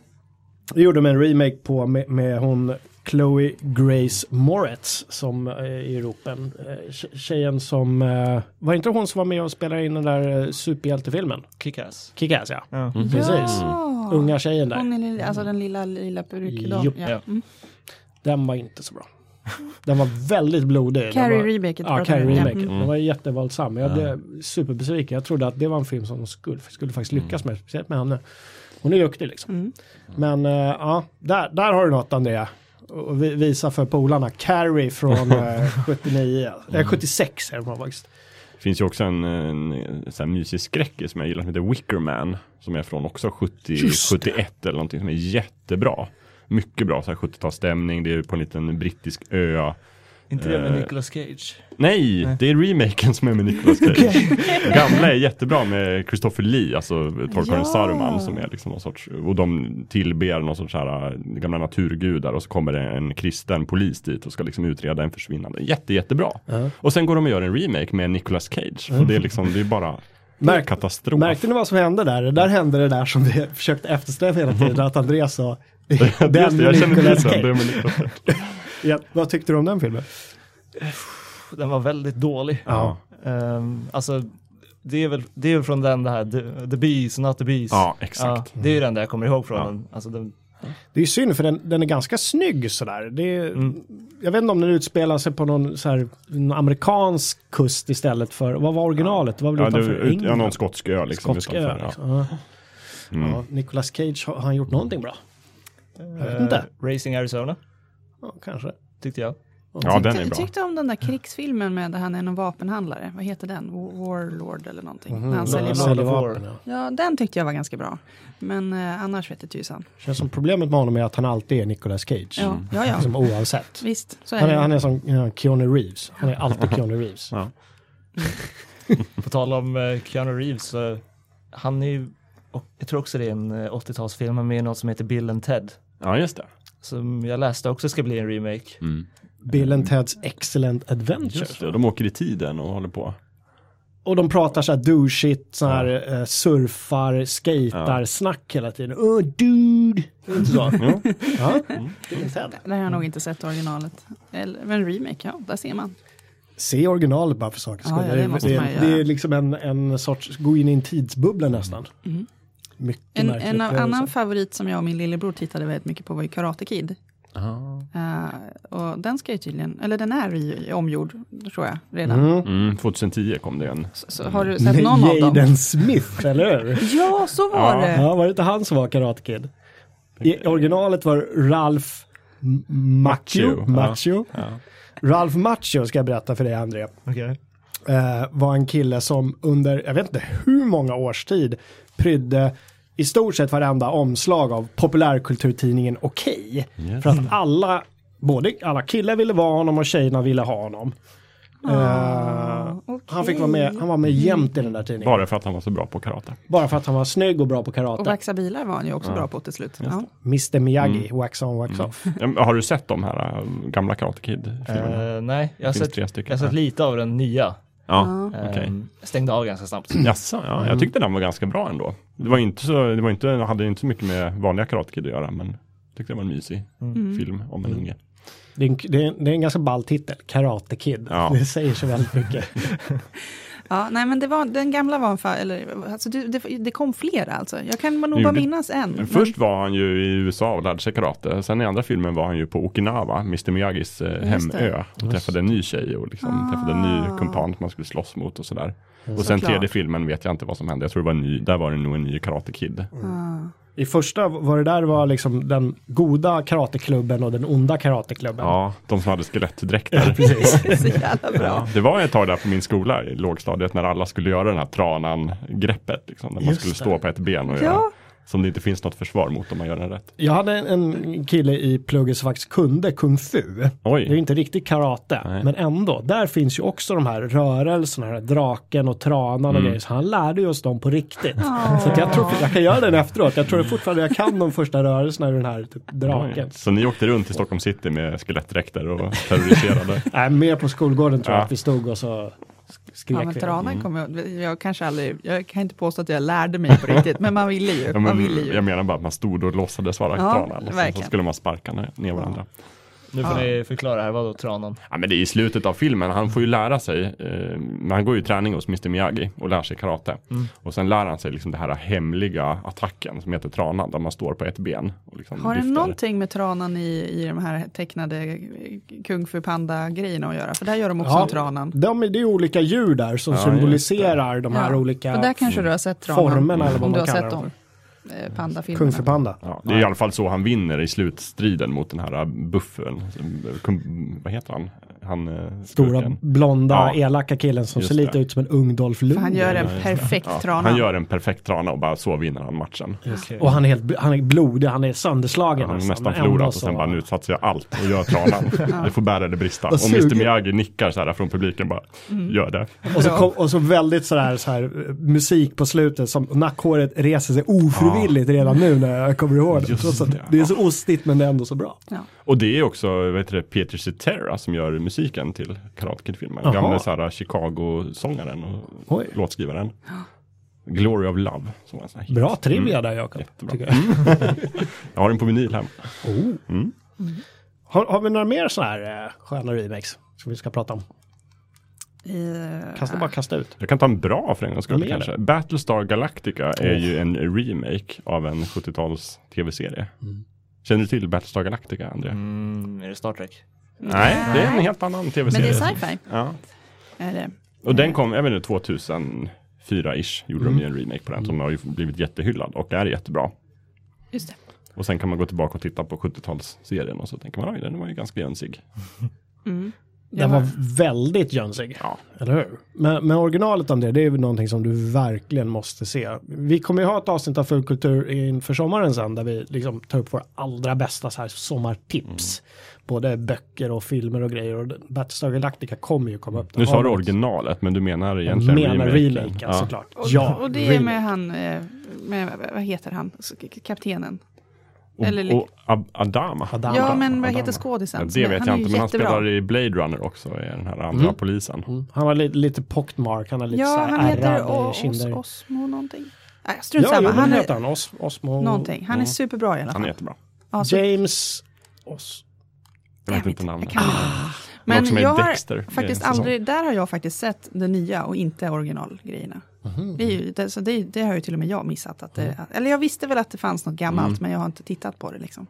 Speaker 1: Det gjorde de en remake på med, med hon Chloe Grace Moretz som eh, i ropen. Eh, tje- Tjejen som, eh, var inte hon som var med och spelade in den där eh, superhjältefilmen?
Speaker 4: Kickass.
Speaker 1: Kick-Ass ja.
Speaker 4: Ja.
Speaker 2: Mm.
Speaker 1: Precis.
Speaker 2: Ja.
Speaker 1: Unga tjejen där. Mm.
Speaker 2: Hon är lilla, alltså den lilla, lilla peruken.
Speaker 1: Jupp.
Speaker 4: Ja.
Speaker 2: Ja. Mm.
Speaker 1: Den var inte så bra. Den var väldigt blodig. Den
Speaker 2: Carrie
Speaker 1: var,
Speaker 2: Rebaker
Speaker 1: Ja,
Speaker 2: pratar vi om.
Speaker 1: Carrie
Speaker 2: Ja. Mm.
Speaker 1: Remaken. Den var jättevåldsam. Jag blev superbesviken. Jag trodde att det var en film som de skulle, skulle faktiskt lyckas med. Speciellt med henne. Hon är duktig liksom.
Speaker 2: Mm.
Speaker 1: Men eh, ja, där, där har du något Andrea. Och vi- visa för polarna. Carrie från eh, 79,
Speaker 3: Mm.
Speaker 1: eh, 76 är den faktiskt.
Speaker 3: Det finns ju också en, en, sån här mysig skräckis som jag gillar som heter Wicker Man. Som är från också 70,
Speaker 1: Just
Speaker 3: 71 eller någonting som är jättebra. Mycket bra så här 70-talsstämning, det är på en liten brittisk ö.
Speaker 4: Inte det med
Speaker 3: Eh.
Speaker 4: Nicolas Cage.
Speaker 3: Nej, det är remaken som är med Nicolas Cage. Gamla är jättebra med Christopher Lee, alltså
Speaker 2: Ja.
Speaker 3: Torkaren Saruman som är liksom någon sorts, och de tillber någon sorts så här äh, gamla naturgudar och så kommer det en kristen polis dit och ska liksom utreda en försvinnande. Jätte, jättebra. Och sen går de och gör en remake med Nicolas Cage och det är liksom, det är bara
Speaker 1: Märk-
Speaker 3: katastrof.
Speaker 1: Märkte ni vad som hände där? Det Där hände det där som vi försökte eftersträva hela
Speaker 3: Mm.
Speaker 1: tiden. Att Andreas sa den
Speaker 3: Just det, jag känner till
Speaker 1: Nicolas
Speaker 3: den. Det
Speaker 1: Cage.
Speaker 3: är med Nicolas Cage.
Speaker 1: Ja, vad tyckte du om den filmen?
Speaker 4: Pff, Den var väldigt dålig.
Speaker 1: Ja.
Speaker 4: Ehm, alltså, det är, väl, det är väl från den där The, the Bees, Not the Bees.
Speaker 3: Ja, exakt.
Speaker 4: Ja, det är ju den där jag kommer ihåg från den. Alltså, den
Speaker 1: Det är synd för den, den är ganska snygg sådär. Det är,
Speaker 3: Mm.
Speaker 1: Jag vet inte om den utspelar sig på någon, så här, någon amerikansk kust istället för, vad var originalet? Det var väl
Speaker 3: Ja,
Speaker 1: utanför
Speaker 3: du, ut, ja,
Speaker 1: England?
Speaker 3: någon skotsk ö liksom.
Speaker 1: Skotsk ö,
Speaker 3: utanför, ja. Mm.
Speaker 1: liksom. ja. Ja, Nicolas Cage, har har han gjort någonting bra? Jag vet
Speaker 4: eh,
Speaker 1: inte.
Speaker 4: Racing Arizona,
Speaker 1: Ja, kanske.
Speaker 4: tyckte jag.
Speaker 3: Ja, den är
Speaker 2: Jag
Speaker 3: bra.
Speaker 2: tyckte om den där krigsfilmen med där han är någon vapenhandlare. Vad heter den? War- Warlord eller någonting. När han
Speaker 1: Ja,
Speaker 2: säljer
Speaker 4: Lord
Speaker 2: vapen.
Speaker 1: säljer
Speaker 4: of War.
Speaker 1: vapen, Mhm. ja.
Speaker 2: Ja, den tyckte jag var ganska bra. Men eh, annars vet jag tusan.
Speaker 1: Känns som problemet med honom är att han alltid är Nicolas Cage.
Speaker 2: Ja, ja, ja.
Speaker 1: Liksom, oavsett.
Speaker 2: Visst, så är
Speaker 1: Han är,
Speaker 2: det.
Speaker 1: han är som ja, Keanu Reeves. Han är alltid Keanu Reeves.
Speaker 3: Ja.
Speaker 4: På tal om eh, Keanu Reeves, så han är ju, och jag tror också det är en eh, 80-talsfilm, han är med i något som heter Bill and Ted.
Speaker 3: Ja, just det.
Speaker 4: Som jag läste också ska bli en remake.
Speaker 3: Mm.
Speaker 1: Bill and Teds Excellent Adventure.
Speaker 3: Just det. och De åker i tiden och håller på.
Speaker 1: Och de pratar så här douchigt, så här eh, surfar, skatar, snack hela tiden. Oh dude! Inte så.
Speaker 3: Jo.
Speaker 1: ja. Det finns här.
Speaker 2: Det här har jag nog inte sett originalet. Eller, men remake, ja, där ser man.
Speaker 1: Se originalet bara för sakens
Speaker 2: Ja,
Speaker 1: skull.
Speaker 2: ja, det måste
Speaker 1: det,
Speaker 2: man
Speaker 1: det,
Speaker 2: göra.
Speaker 1: är liksom en, en sorts, gå in i en tidsbubbla nästan. Mycket
Speaker 2: Mm. En,
Speaker 1: märklig
Speaker 2: en
Speaker 1: upplevelse.
Speaker 2: annan favorit som jag och min lillebror tittade väldigt mycket på var ju Karate Kid. Eh, och den ska ju tydligen, eller den är ju omgjord, tror jag, redan.
Speaker 3: Mm, 2010 kom det en.
Speaker 2: Så, så har du sett någon av dem?
Speaker 1: Jaden Smith, eller hur?
Speaker 2: Ja, så var
Speaker 3: Ja.
Speaker 2: det.
Speaker 1: Ja, var det inte han som var Karate Kid? I originalet var Ralf M- Macchio.
Speaker 3: Macchio, ja.
Speaker 1: Macchio. Ralf Macchio, ska jag berätta för dig André,
Speaker 4: Okej.
Speaker 1: eh, var en kille som under, jag vet inte hur många års tid, prydde i stort sett varenda omslag av populärkulturtidningen Okej. För
Speaker 3: Mm.
Speaker 1: att alla, både alla killar ville vara honom och tjejerna ville ha honom.
Speaker 2: Ah.
Speaker 1: Eh, Han fick vara med, han var med
Speaker 2: Mm.
Speaker 1: jämt i den där tidningen.
Speaker 3: Bara för att han var så bra på karate.
Speaker 1: Bara för att han var snygg och bra på
Speaker 2: Och
Speaker 1: karate.
Speaker 2: vaxa bilar var han ju också bra på till slut. Ja.
Speaker 1: Mr Miyagi,
Speaker 3: Mm.
Speaker 1: wax on, wax off.
Speaker 3: Ja, men Har du sett de här äh, gamla Karate Kid-filmerna?
Speaker 4: Eh, nej, jag har,
Speaker 3: Finns
Speaker 4: sett,
Speaker 3: tre
Speaker 4: jag
Speaker 3: stycken.
Speaker 4: har sett lite av den nya.
Speaker 3: Ja, okej.
Speaker 4: Eh, Stängde av ganska snabbt.
Speaker 3: Jaså, ja. Jag tyckte den var ganska bra ändå. Det var ju inte så, det var inte, hade ju inte så mycket med vanliga Karate Kid att göra, men jag tyckte det var en mysig film om en unge.
Speaker 1: Det är, en, det, är en, det är en ganska ball titel, Karate Kid.
Speaker 3: Ja.
Speaker 1: Det säger så väldigt mycket.
Speaker 2: Ja, nej men det var, den gamla var en fa- eller alltså du, det, det kom flera alltså. Jag kan nog
Speaker 3: Jo,
Speaker 2: bara
Speaker 3: det-
Speaker 2: minnas en.
Speaker 3: Men
Speaker 2: Men-
Speaker 3: först var han ju i USA och lärde sig karate. Sen i andra filmen var han ju på Okinawa, Mr Miyagis eh,
Speaker 2: Just det. Ah.
Speaker 3: hemö. Och träffade en ny tjej och liksom träffade en ny kumpan som man skulle slåss mot och sådär. Och sen
Speaker 2: Såklart.
Speaker 3: tredje filmen vet jag inte vad som hände. Jag tror det var en ny, där var det nog en ny Karate Kid.
Speaker 1: I första var det där var liksom den goda karateklubben och den onda karateklubben.
Speaker 3: Ja, de som hade skelettdräkter.
Speaker 2: Det är så jävla bra.
Speaker 3: Ja, det var ett tag där på min skola i lågstadiet när alla skulle göra den här tranan-greppet. Liksom, när man
Speaker 1: Just
Speaker 3: skulle
Speaker 1: det.
Speaker 3: stå på ett ben och
Speaker 2: Ja.
Speaker 3: göra, som det inte finns något försvar mot om man gör den rätt.
Speaker 1: Jag hade en, en kille i plugget som faktiskt kunde kung fu.
Speaker 3: Oj.
Speaker 1: Det är ju inte riktigt karate,
Speaker 3: Nej.
Speaker 1: men ändå. Där finns ju också de här rörelserna, den här draken och tranan
Speaker 3: Mm.
Speaker 1: och grejer. Så han lärde ju oss dem på riktigt. Så att jag tror jag kan göra den efteråt. Jag tror fortfarande jag kan de första rörelserna ur den här typ, draken.
Speaker 3: Oj. Så ni åkte runt i Stockholm city med skelettdräkter och terroriserade.
Speaker 1: Nej, mer på skolgården tror jag
Speaker 3: Ja.
Speaker 1: att vi stod och så sk-
Speaker 2: Ja,
Speaker 1: skrek
Speaker 2: men
Speaker 1: vi.
Speaker 2: tranan kommer jag, jag kanske aldrig, jag kan inte påstå att jag lärde mig på riktigt, men man ville ju.
Speaker 3: Ja,
Speaker 2: man
Speaker 3: men,
Speaker 2: ville ju.
Speaker 3: jag menar bara att man stod och låtsades
Speaker 2: Ja,
Speaker 3: vara tranan. Och sen så
Speaker 2: verkligen.
Speaker 3: skulle man sparka ner ner varandra.
Speaker 4: Nu
Speaker 3: Ah.
Speaker 4: får ni förklara här, vad då tranan?
Speaker 3: Ja, men det är i slutet av filmen, han får ju lära sig, eh, men han går ju i träning hos Mr Miyagi och lär sig karate.
Speaker 2: Mm.
Speaker 3: Och sen lär han sig liksom den här hemliga attacken som heter tranan, där man står på ett ben. Och liksom
Speaker 2: Har det
Speaker 3: lyfter.
Speaker 2: någonting med tranan i, i de här tecknade eh, Kung Fu Panda-grejerna att göra? För där gör de också
Speaker 1: Ja.
Speaker 2: en tranan.
Speaker 1: De, det är olika djur där som
Speaker 3: Ja,
Speaker 1: symboliserar de här
Speaker 2: Ja,
Speaker 1: olika
Speaker 2: Och där kanske du har sett tranan.
Speaker 1: formerna, eller vad
Speaker 2: om du
Speaker 1: man
Speaker 2: har
Speaker 1: kallar
Speaker 2: sett
Speaker 1: dem
Speaker 2: dem. eh, Pandafilmerna.
Speaker 1: Kung för Panda.
Speaker 3: Ja, det är i alla fall så han vinner i slutstriden mot den här buffen. Kum- Vad heter han? han eh,
Speaker 1: Stora
Speaker 3: skurken.
Speaker 1: blonda
Speaker 3: Ja.
Speaker 1: elaka killen som
Speaker 3: Just
Speaker 1: ser lite
Speaker 3: det.
Speaker 1: ut som en ung Dolph
Speaker 2: För han
Speaker 1: Lundgren.
Speaker 2: gör en perfekt trana.
Speaker 3: Han gör en perfekt trana och bara så vinner han matchen.
Speaker 1: Och han är, helt, bl- han är blodig, han är sönderslagen.
Speaker 3: Han har
Speaker 1: nästan,
Speaker 3: nästan
Speaker 1: men ändå
Speaker 3: förlorat och
Speaker 1: så-
Speaker 3: sen bara nu satsar jag allt och gör tranan. Det får bära eller brista. Och
Speaker 1: suger. Mm.
Speaker 3: Mr Miyagi nickar så här från publiken bara, gör det.
Speaker 1: Och så, kom, och så väldigt sådär, såhär, eh, musik på slutet som nackhåret reser sig ofrivilligt redan nu när jag kommer ihåg det.
Speaker 3: Just
Speaker 1: Trots att
Speaker 3: det,
Speaker 1: det är så ostigt men det är ändå så bra.
Speaker 2: Ja.
Speaker 3: Och det är också vad heter det, Peter Cetera som gör musiken till Karate Kid-filmen.
Speaker 1: Jaha.
Speaker 3: Gamle så här eh, Chicago-sångaren och
Speaker 1: Oj.
Speaker 3: låtskrivaren. Glory of Love. Som var en sån här hit.
Speaker 1: Bra trivia där Jakob.
Speaker 3: Mm. Jättebra.
Speaker 1: tycker jag.
Speaker 3: Jag har den på vinyl hem.
Speaker 1: Oh. Mm. Har, har vi några mer sådana här eh, sköna remakes som vi ska prata om?
Speaker 2: Eh,
Speaker 1: Kasta, bara kasta ut.
Speaker 3: Jag kan ta en bra för en gångs
Speaker 1: Ja,
Speaker 3: skull
Speaker 1: men gör
Speaker 3: kanske. Battlestar Galactica är ju en remake av en 70-tals tv-serie.
Speaker 1: Mm.
Speaker 3: Känner du till Battlestar Galactica, André?
Speaker 4: Mm, är det Star Trek?
Speaker 3: Nej, det är en helt annan
Speaker 2: Men
Speaker 3: tv-serie.
Speaker 2: det är sci-fi.
Speaker 3: Ja.
Speaker 2: Är det?
Speaker 3: Och
Speaker 1: Mm.
Speaker 3: den kom, jag vet inte, 2004-ish gjorde de ju en remake på den. Som har ju blivit jättehyllad och är jättebra.
Speaker 2: Just det.
Speaker 3: Och sen kan man gå tillbaka och titta på 70-talsserien och så tänker man, oj, den var ju ganska jönsig.
Speaker 2: Jag
Speaker 1: Den var väldigt jönsig.
Speaker 3: Ja.
Speaker 1: Eller hur? Men, men originalet om det, det är väl någonting som du verkligen måste se. Vi kommer ju ha ett avsnitt av Fullkultur inför sommaren sen där vi liksom tar upp våra allra bästa så här sommartips.
Speaker 3: Mm.
Speaker 1: Både böcker och filmer och grejer. Och Battlestar Galactica kommer ju komma upp.
Speaker 3: Nu sa du
Speaker 1: Ja,
Speaker 3: originalet, men du menar
Speaker 1: Jag
Speaker 3: egentligen
Speaker 1: menar
Speaker 3: remaken.
Speaker 1: remaken
Speaker 3: Ja.
Speaker 1: såklart.
Speaker 2: Och,
Speaker 1: ja,
Speaker 2: och det är
Speaker 1: remake.
Speaker 2: med han, eh, med, vad heter han, Så- k- kaptenen?
Speaker 3: Och,
Speaker 2: Eller lik-
Speaker 3: och Ab- Adama.
Speaker 1: Adama.
Speaker 2: Ja, men vad
Speaker 1: Adama.
Speaker 2: heter
Speaker 3: Ja,
Speaker 2: skådisen?
Speaker 3: det vet jag
Speaker 2: ju
Speaker 3: inte, men
Speaker 2: jättebra.
Speaker 3: han spelar i Blade Runner också, i den här andra
Speaker 1: Mm.
Speaker 3: polisen.
Speaker 1: Mm. Han har lite, lite pockmark, han har lite så
Speaker 2: Ja,
Speaker 1: här
Speaker 2: han heter
Speaker 1: ärrade
Speaker 2: Os
Speaker 1: kinder.
Speaker 2: Osmo någonting. Nej, strunt
Speaker 1: Ja, jo,
Speaker 2: samma.
Speaker 1: men
Speaker 2: Han
Speaker 1: han
Speaker 2: är
Speaker 1: heter han. Os, Osmo...
Speaker 2: någonting. Alltså- Han är
Speaker 3: Mm.
Speaker 2: superbra i alla
Speaker 3: Han är
Speaker 2: fall.
Speaker 3: jättebra.
Speaker 2: Ja, så-
Speaker 1: James... Os.
Speaker 3: Jag vet inte namnet.
Speaker 2: jag kan inte.
Speaker 3: Men
Speaker 2: Men
Speaker 3: också med
Speaker 2: jag
Speaker 3: Dexter i
Speaker 2: har
Speaker 3: en
Speaker 2: faktiskt
Speaker 3: säsong.
Speaker 2: aldrig, där har jag faktiskt sett det nya och inte originalgrejerna. Det, är ju, det, så det, är- det har ju till och med jag missat. Att det, eller jag visste väl att det fanns något gammalt,
Speaker 3: Mm.
Speaker 2: men jag har inte tittat på det liksom.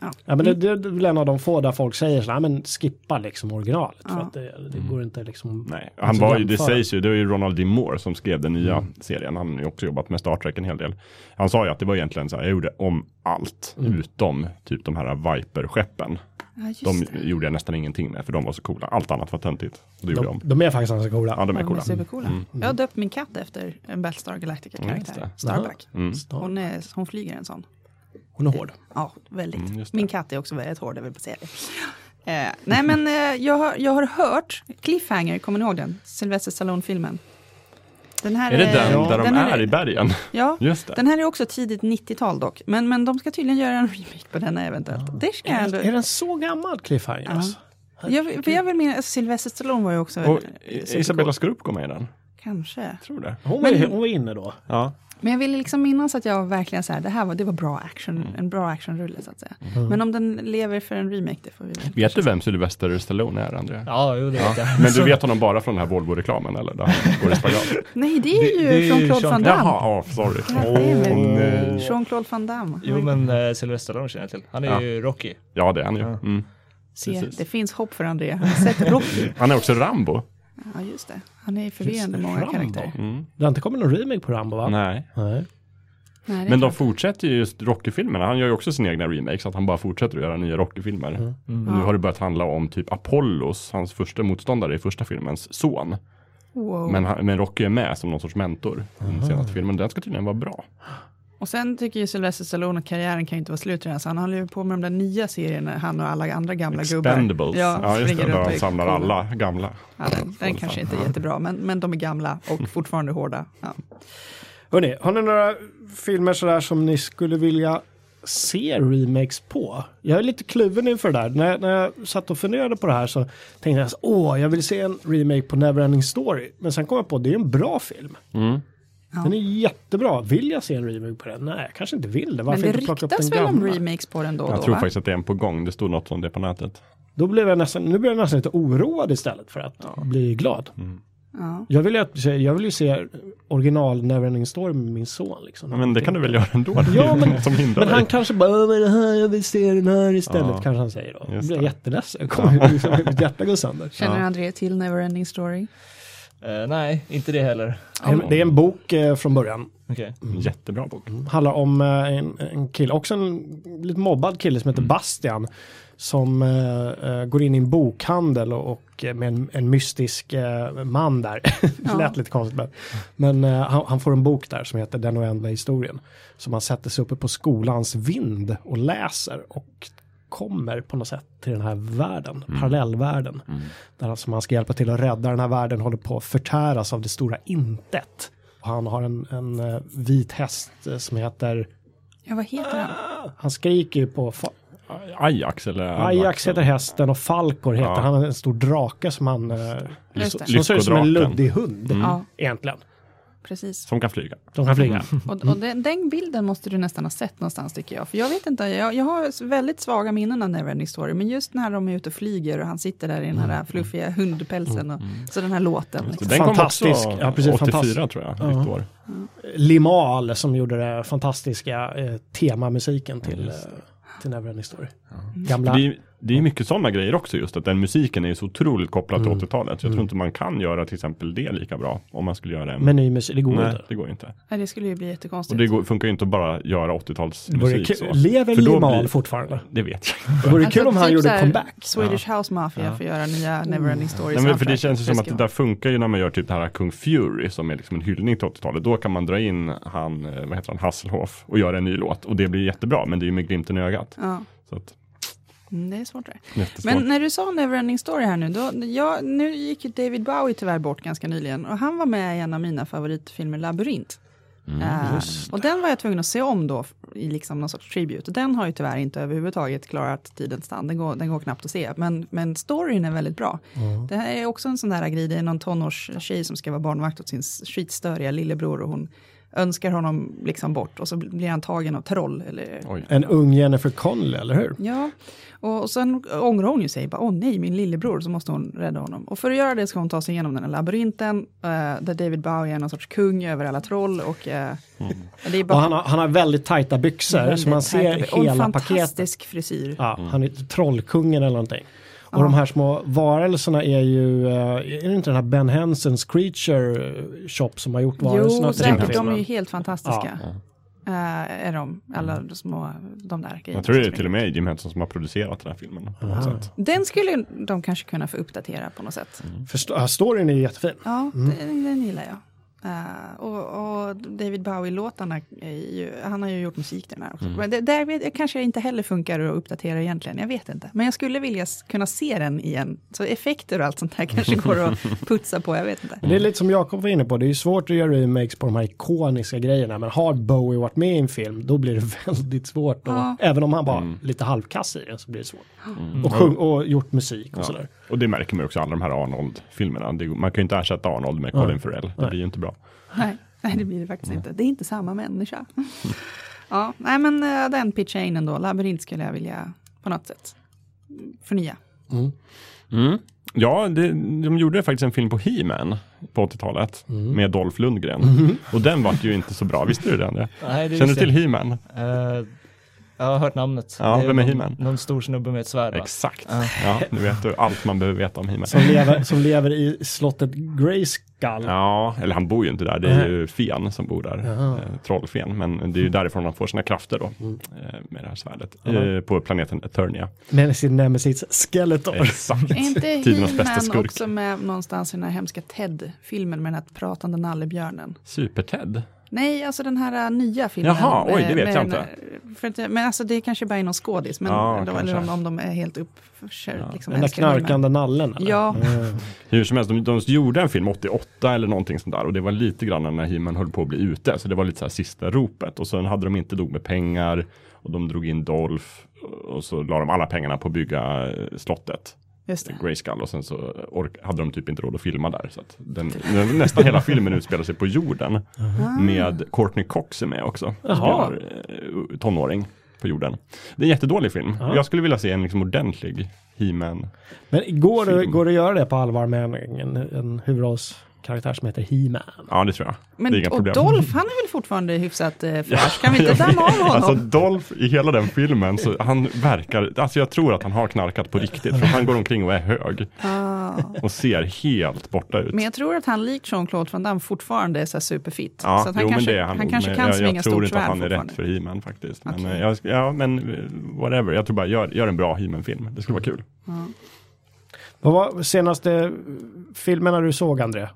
Speaker 1: Ja, men det,
Speaker 2: Mm.
Speaker 1: det är väl en av de få där folk säger så här, "Nej, men skippa liksom originalet. För
Speaker 2: Ja.
Speaker 1: att det, det går inte liksom...
Speaker 3: Nej, han
Speaker 1: Alltså,
Speaker 3: var ju, det
Speaker 1: jämföra.
Speaker 3: sägs ju, det var ju Ronald D. Moore som skrev den nya serien. Han har ju också jobbat med Star Trek en hel del. Han sa ju att det var egentligen så här, jag gjorde om allt utom typ de här Viper-skeppen.
Speaker 2: Ja, just
Speaker 3: De
Speaker 2: det.
Speaker 3: gjorde jag nästan ingenting med för de var så coola. Allt annat var töntigt. Det gjorde
Speaker 1: De,
Speaker 3: de.
Speaker 1: de är faktiskt ganska coola.
Speaker 3: Ja, de är
Speaker 2: Ja, de är
Speaker 3: coola.
Speaker 2: supercoola. Jag har döpt min katt efter en Battlestar Galactica-karaktär.
Speaker 3: Mm, just
Speaker 2: Starbuck.
Speaker 3: Mm.
Speaker 2: Hon, är, hon flyger en sån.
Speaker 1: Hon är hård.
Speaker 2: Ja, väldigt.
Speaker 3: Mm, just det.
Speaker 2: Min katt är också väldigt hård, jag vill bara säga det. Eh, nej, men eh, jag, har, jag har hört Cliffhanger, kommer ni ihåg den? Sylvester Stallone-filmen. Den här
Speaker 3: Är det den
Speaker 2: ja,
Speaker 3: där de är, i bergen?
Speaker 2: Ja,
Speaker 3: Just det.
Speaker 2: den här är också tidigt 90-tal dock. Men, men de ska tydligen göra en remake på den här eventuellt. Det ska jag
Speaker 1: Är,
Speaker 2: ändå...
Speaker 1: är den så gammal, Cliffhanger?
Speaker 2: Ja.
Speaker 1: Alltså?
Speaker 2: Jag, för jag vill minnas, alltså, Sylvester Stallone var ju också...
Speaker 3: Och
Speaker 2: supercool.
Speaker 3: Isabella Skrupp går med i den.
Speaker 2: Kanske.
Speaker 3: Tror det.
Speaker 1: Hon, var, hon var inne då.
Speaker 3: Ja.
Speaker 2: Men jag vill liksom minnas att jag verkligen så här, det här var, det var bra action, en bra actionrulle så att säga. Men om den lever för en remake, det får vi väl.
Speaker 3: Vet du vem Sylvester Stallone är, Andrea?
Speaker 4: Ja, jo, det vet jag.
Speaker 3: Men du vet honom bara från den här Volvo-reklamen eller? Där han går i spagat.
Speaker 2: Nej, det är ju
Speaker 4: Det- det är
Speaker 2: från
Speaker 4: ju
Speaker 2: Claude van
Speaker 4: Sean-
Speaker 2: Damme.
Speaker 3: Jaha, oh, sorry.
Speaker 2: Ja, det är väl-
Speaker 3: Åh, nej.
Speaker 2: Jean-Claude Van Damme.
Speaker 4: Jo, men eh, Sylvester Stallone känner jag till. Han är
Speaker 3: Ja.
Speaker 4: ju Rocky.
Speaker 3: Ja, det är han ju.
Speaker 4: Ja.
Speaker 3: Mm.
Speaker 2: Se,
Speaker 3: precis.
Speaker 2: det finns hopp för André. Han har sett Rocky.
Speaker 3: Han är också Rambo.
Speaker 2: Ja, just det. Han är förvirrande
Speaker 1: Just det,
Speaker 2: många
Speaker 1: Rambo.
Speaker 2: karaktärer.
Speaker 1: Det har inte kommit någon remake på Rambo, va?
Speaker 3: Mm. Nej.
Speaker 1: Nej.
Speaker 2: Nej, det är
Speaker 3: Men de
Speaker 2: klart.
Speaker 3: fortsätter ju just Rocky-filmerna. Han gör ju också sin egna remake så att han bara fortsätter att göra nya Rocky-filmer.
Speaker 1: Mm.
Speaker 3: Nu har det börjat handla om typ Apollos, hans första motståndare i första filmens son.
Speaker 2: wow.
Speaker 3: Men, han, men Rocky är med som någon sorts mentor i den senaste filmen. Den ska tydligen vara bra.
Speaker 2: Och sen tycker ju Sylvester Stallone att karriären kan ju inte vara slut redan, så han håller ju på med de där nya serierna, han och alla andra gamla gubbar.
Speaker 3: Expendables. Ja, just
Speaker 2: springer
Speaker 3: det. Där
Speaker 2: runt
Speaker 3: han
Speaker 2: och-
Speaker 3: samlar alla gamla.
Speaker 2: Ja, den, den kanske inte är jättebra, men, men de är gamla
Speaker 3: Mm.
Speaker 2: och fortfarande hårda. Ja.
Speaker 1: Hörrni, har ni några filmer sådär som ni skulle vilja se remakes på? Jag är lite kluven inför det där. När, när jag satt och funderade på det här så tänkte jag så, åh, jag vill se en remake på Neverending Story. Men sen kom jag på, det är en bra film. Den är jättebra. Vill jag se en remake på den? Nej, jag kanske inte vill det. Varför
Speaker 2: Men det
Speaker 1: inte plocka upp
Speaker 2: ryktas
Speaker 1: den
Speaker 2: väl om
Speaker 1: gamla?
Speaker 2: remakes på den då och
Speaker 3: Jag
Speaker 2: då?
Speaker 3: tror
Speaker 2: va?
Speaker 3: faktiskt att det är en på gång. Det stod något om det på nätet.
Speaker 1: Då blev jag nästan, nu blev jag nästan lite oroad istället för att bli glad.
Speaker 2: Ja.
Speaker 1: Jag vill, ju att, jag vill ju se original Neverending Story med min son. Liksom.
Speaker 3: Ja, Men det kan du väl göra ändå? Det
Speaker 1: Ja,
Speaker 3: är
Speaker 1: men-
Speaker 3: inget som hindrar
Speaker 1: Men
Speaker 3: dig.
Speaker 1: han kanske bara, "Åh, vad är det här? jag vill se den här istället,
Speaker 3: Ja.
Speaker 1: kanske han säger då. Då
Speaker 3: Just
Speaker 1: blir jag
Speaker 3: det.
Speaker 1: jätteledsen, kommer, liksom, mitt hjärta går sönder.
Speaker 2: Känner André till Neverending Story?
Speaker 4: Eh, nej, inte det heller.
Speaker 1: Det är- Det är en bok eh, från början,
Speaker 4: Okej.
Speaker 3: Jättebra bok.
Speaker 1: handlar om eh, en, en kille, också en lite mobbad kille som heter Bastian. Som eh, eh, går in i en bokhandel och, och eh, med en, en mystisk eh, man där. det lät lite konstigt men. Men eh, han, han får en bok där som heter Den oändliga historien. Som han sätter sig uppe på skolans vind och läser. Och kommer på något sätt till den här världen,
Speaker 3: Mm.
Speaker 1: parallellvärlden. Där han, som han ska hjälpa till att rädda den här världen håller på att förtäras av det stora intet. Och han har en, en eh, vit häst eh, som heter,
Speaker 2: Ja, vad heter han?
Speaker 1: han skriker ju på, fa-
Speaker 3: Ajax eller?
Speaker 1: Ajax heter hästen och Falkor heter
Speaker 3: Ja.
Speaker 1: han, en stor drake som han, eh,
Speaker 2: Just det.
Speaker 1: som ser ut som en
Speaker 3: Lyckodraken.
Speaker 1: luddig hund
Speaker 3: Mm.
Speaker 2: Ja,
Speaker 1: egentligen.
Speaker 2: precis.
Speaker 3: Som kan flyga.
Speaker 1: De kan flyga.
Speaker 3: Mm.
Speaker 2: Och, och den, den bilden måste du nästan ha sett någonstans tycker jag. För jag vet inte, jag, jag har väldigt svaga minnen av Neverending Story. Men just när de är ute och flyger och han sitter där i den
Speaker 3: Mm.
Speaker 2: här fluffiga hundpälsen. Och, så den här låten. Liksom.
Speaker 3: Den kom också
Speaker 1: Fantastisk. Ja, precis,
Speaker 3: 84
Speaker 1: fantastisk.
Speaker 3: tror jag. Nytt år.
Speaker 1: Limal som gjorde det fantastiska eh, temamusiken till, eh, till Neverending Story. Gamla,
Speaker 3: Det är, det är mycket sådana grejer också just att den musiken är ju så otroligt kopplad
Speaker 1: Mm.
Speaker 3: till 80-talet. Så jag tror inte man kan göra till exempel det lika bra om man skulle göra en.
Speaker 1: med ny musik, det går
Speaker 3: Nej,
Speaker 1: inte.
Speaker 3: det går ju inte.
Speaker 2: Nej, det skulle ju bli
Speaker 3: Och
Speaker 2: jättekonstigt.
Speaker 3: det går, funkar ju inte att bara göra
Speaker 1: Det vore
Speaker 3: 80-talsmusik.
Speaker 1: kul.
Speaker 3: så.
Speaker 1: Lever
Speaker 3: För då
Speaker 1: Limal
Speaker 3: blir-
Speaker 1: fortfarande?
Speaker 3: Det vet jag.
Speaker 1: Det vore kul om han
Speaker 2: typ
Speaker 1: gjorde
Speaker 2: så här
Speaker 1: comeback.
Speaker 2: Swedish House Mafia får göra nya Neverending Story.
Speaker 3: Mm. Nej, men för det
Speaker 2: soundtrack.
Speaker 3: känns ju som att det
Speaker 2: ska
Speaker 3: där funkar ju när man gör typ det här Kung Fury som är liksom en hyllning till 80-talet. Då kan man dra in han, eh, vad heter han, Hasselhoff och göra en ny låt och det blir jättebra men det är ju med glimten i ögat.
Speaker 2: vara. Ja.
Speaker 3: Så att,
Speaker 2: Mm, det är svårt det.
Speaker 3: jättesvårt.
Speaker 2: Men när du sa Neverending Story här nu, då, ja, nu gick ju David Bowie tyvärr bort ganska nyligen och han var med i en av mina favoritfilmer, Labyrint. Eh, och den var jag tvungen att se om då i liksom någon sorts tribute. Den har ju tyvärr inte överhuvudtaget klarat tidens tand. Den går, den går knappt att se. Men, men storyn är väldigt bra. Det här är också en sån där grej. Det är någon tonårstjej som ska vara barnvakt åt sin skitstöriga lillebror och hon önskar honom liksom bort och så blir han tagen av troll. Eller,
Speaker 3: Oj.
Speaker 1: En ung Jennifer Connelly, eller hur?
Speaker 2: Ja, och, och sen ångrar hon ju sig. Bara, Åh nej, min lillebror, så måste hon rädda honom. Och för att göra det ska hon ta sig igenom den här labyrinten eh, där David Bowie är någon sorts kung över alla troll. Och, eh, det är
Speaker 1: Mm.
Speaker 2: bara
Speaker 1: Och han har, han har väldigt tajta byxor så man
Speaker 2: väldigt
Speaker 1: ser
Speaker 2: tajt. Och en
Speaker 1: hela paketet.
Speaker 2: fantastisk frisyr.
Speaker 1: Ja, Han är trollkungen eller någonting. Och de här små varelserna är ju, eh, är det inte den här Ben Hensons Creature Shop som har gjort varelserna?
Speaker 2: Jo,
Speaker 1: till den här
Speaker 2: säkert. De är
Speaker 1: filmen?
Speaker 2: ju helt fantastiska. Eh, är de, alla de små, de där grejerna.
Speaker 3: Jag tror det är
Speaker 2: som
Speaker 3: till och med Jim Henson som har producerat den här filmen. På något sätt.
Speaker 2: Den skulle de kanske kunna få uppdatera på något sätt.
Speaker 1: Förstå- ja, storyn är ju jättefin.
Speaker 2: Ja,
Speaker 3: Mm.
Speaker 2: den, den gillar jag. Eh, och, och David Bowie-låtarna, är ju- han har ju gjort musik till den här också.
Speaker 3: Mm.
Speaker 2: Men det, där vet, jag kanske inte heller funkar att uppdatera egentligen, jag vet inte. Men jag skulle vilja s- kunna se den igen. Så effekter och allt sånt här kanske går att putsa på, jag vet inte.
Speaker 1: Men det är
Speaker 3: Mm.
Speaker 1: lite som Jakob var inne på, det är ju svårt att göra remakes på de här ikoniska grejerna. Men har Bowie varit med i en film, då blir det väldigt svårt. Och,
Speaker 2: Ja.
Speaker 1: Även om han var
Speaker 3: Mm.
Speaker 1: lite halvkass i den så blir det svårt. Och, sjung, och gjort musik och
Speaker 3: Ja.
Speaker 1: sådär.
Speaker 3: Och det märker man ju också i alla de här Arnold-filmerna. Det- Man kan ju inte ersätta Arnold med Colin Farrell. Det blir ju inte bra.
Speaker 2: Nej, nej det blir det faktiskt inte. Det är inte samma människa. Ja, nej men eh, den pitchar jag in ändå. Labyrint skulle jag vilja på något sätt förnya.
Speaker 3: Ja, det, de gjorde faktiskt en film på He-Man på 80-talet
Speaker 4: Mm.
Speaker 3: med Dolph Lundgren. Och den var ju inte så bra, visste du den?
Speaker 4: Nej, det
Speaker 3: Känner du
Speaker 4: visste
Speaker 3: till
Speaker 4: jag.
Speaker 3: He-Man?
Speaker 4: Eh, jag har hört namnet.
Speaker 3: Ja,
Speaker 4: Det
Speaker 3: vem är
Speaker 4: någon-
Speaker 3: He-Man?
Speaker 4: Någon stor snubbe med ett svärd va?
Speaker 3: Exakt. Ja, nu vet du allt man behöver veta om He-Man.
Speaker 1: Som lever, som lever i slottet Grayskull.
Speaker 3: Ja, eller han bor ju inte där, det är ju fen som bor där, eh, trollfen. Men det är
Speaker 4: Mm.
Speaker 3: ju därifrån han får sina krafter då, eh, med det här svärdet, eh, på planeten Eternia.
Speaker 1: Med sin nemesis Skeletor.
Speaker 3: Exakt,
Speaker 2: Är inte
Speaker 3: tidernas bästa
Speaker 2: He-Man
Speaker 3: skurk.
Speaker 2: också med någonstans i den här hemska Ted-filmen med den här pratande nallebjörnen?
Speaker 3: Super-Ted.
Speaker 2: Nej, alltså den här eh, nya filmen.
Speaker 3: Jaha, oj, det
Speaker 2: eh,
Speaker 3: vet
Speaker 2: med
Speaker 3: jag
Speaker 2: den, eh, För att, jag- men alltså det kanske bara är någon skådis, men
Speaker 3: Ja,
Speaker 2: eller-
Speaker 3: kanske.
Speaker 2: eller om, om de är helt uppkörd. Liksom,
Speaker 1: Den där
Speaker 2: älskar filmen.
Speaker 1: knarkande Mm. nallen. eller?
Speaker 2: Ja,
Speaker 3: Hur som helst, de, de gjorde en film 88 eller någonting sånt där och det var lite grann när He-Man höll på att bli ute, så det var lite så här sista ropet. Och sen hade de inte nog med pengar och de drog in Dolph och så la de alla pengarna på att bygga eh, slottet.
Speaker 2: just det.
Speaker 3: Grayskull och sen så ork- hade de typ inte råd att filma där. Så att den, den, nästan hela filmen utspelar sig på jorden. Med Courtney Cox är med också.
Speaker 1: Jaha.
Speaker 3: Spelar, eh, tonåring på jorden. Det är en jättedålig film. Jag skulle vilja se en liksom ordentlig He-Man.
Speaker 1: Men går det,
Speaker 3: Film.
Speaker 1: går det att göra det på allvar med en, en, en huvudrollskaraktär som heter He-Man?
Speaker 3: Ja det tror jag. det är
Speaker 2: Men,
Speaker 3: inga
Speaker 2: och
Speaker 3: problem.
Speaker 2: Dolph, han är väl fortfarande hyfsat eh, fräsch? Kan vi inte damma av honom?
Speaker 3: Alltså Dolph i hela den filmen, så han verkar, alltså jag tror att han har knarkat på riktigt. För han går omkring och är hög. Och ser helt borta ut.
Speaker 2: Ah. Men jag tror att han likt Jean-Claude Van Damme fortfarande är så här superfit. så att han
Speaker 3: jo, men
Speaker 2: kanske,
Speaker 3: det är
Speaker 2: han
Speaker 3: nog,
Speaker 2: kanske
Speaker 3: men
Speaker 2: kan
Speaker 3: jag,
Speaker 2: svinga
Speaker 3: Jag tror
Speaker 2: stort
Speaker 3: inte att
Speaker 2: svärd
Speaker 3: han är rätt
Speaker 2: fortfarande.
Speaker 3: för He-Man faktiskt. Men,
Speaker 2: Okej.
Speaker 3: eh, jag, ja, men eh, whatever. Jag tror bara, gör, gör en bra He-Man-film. Det skulle vara kul.
Speaker 1: Vad var senaste filmerna du såg, André?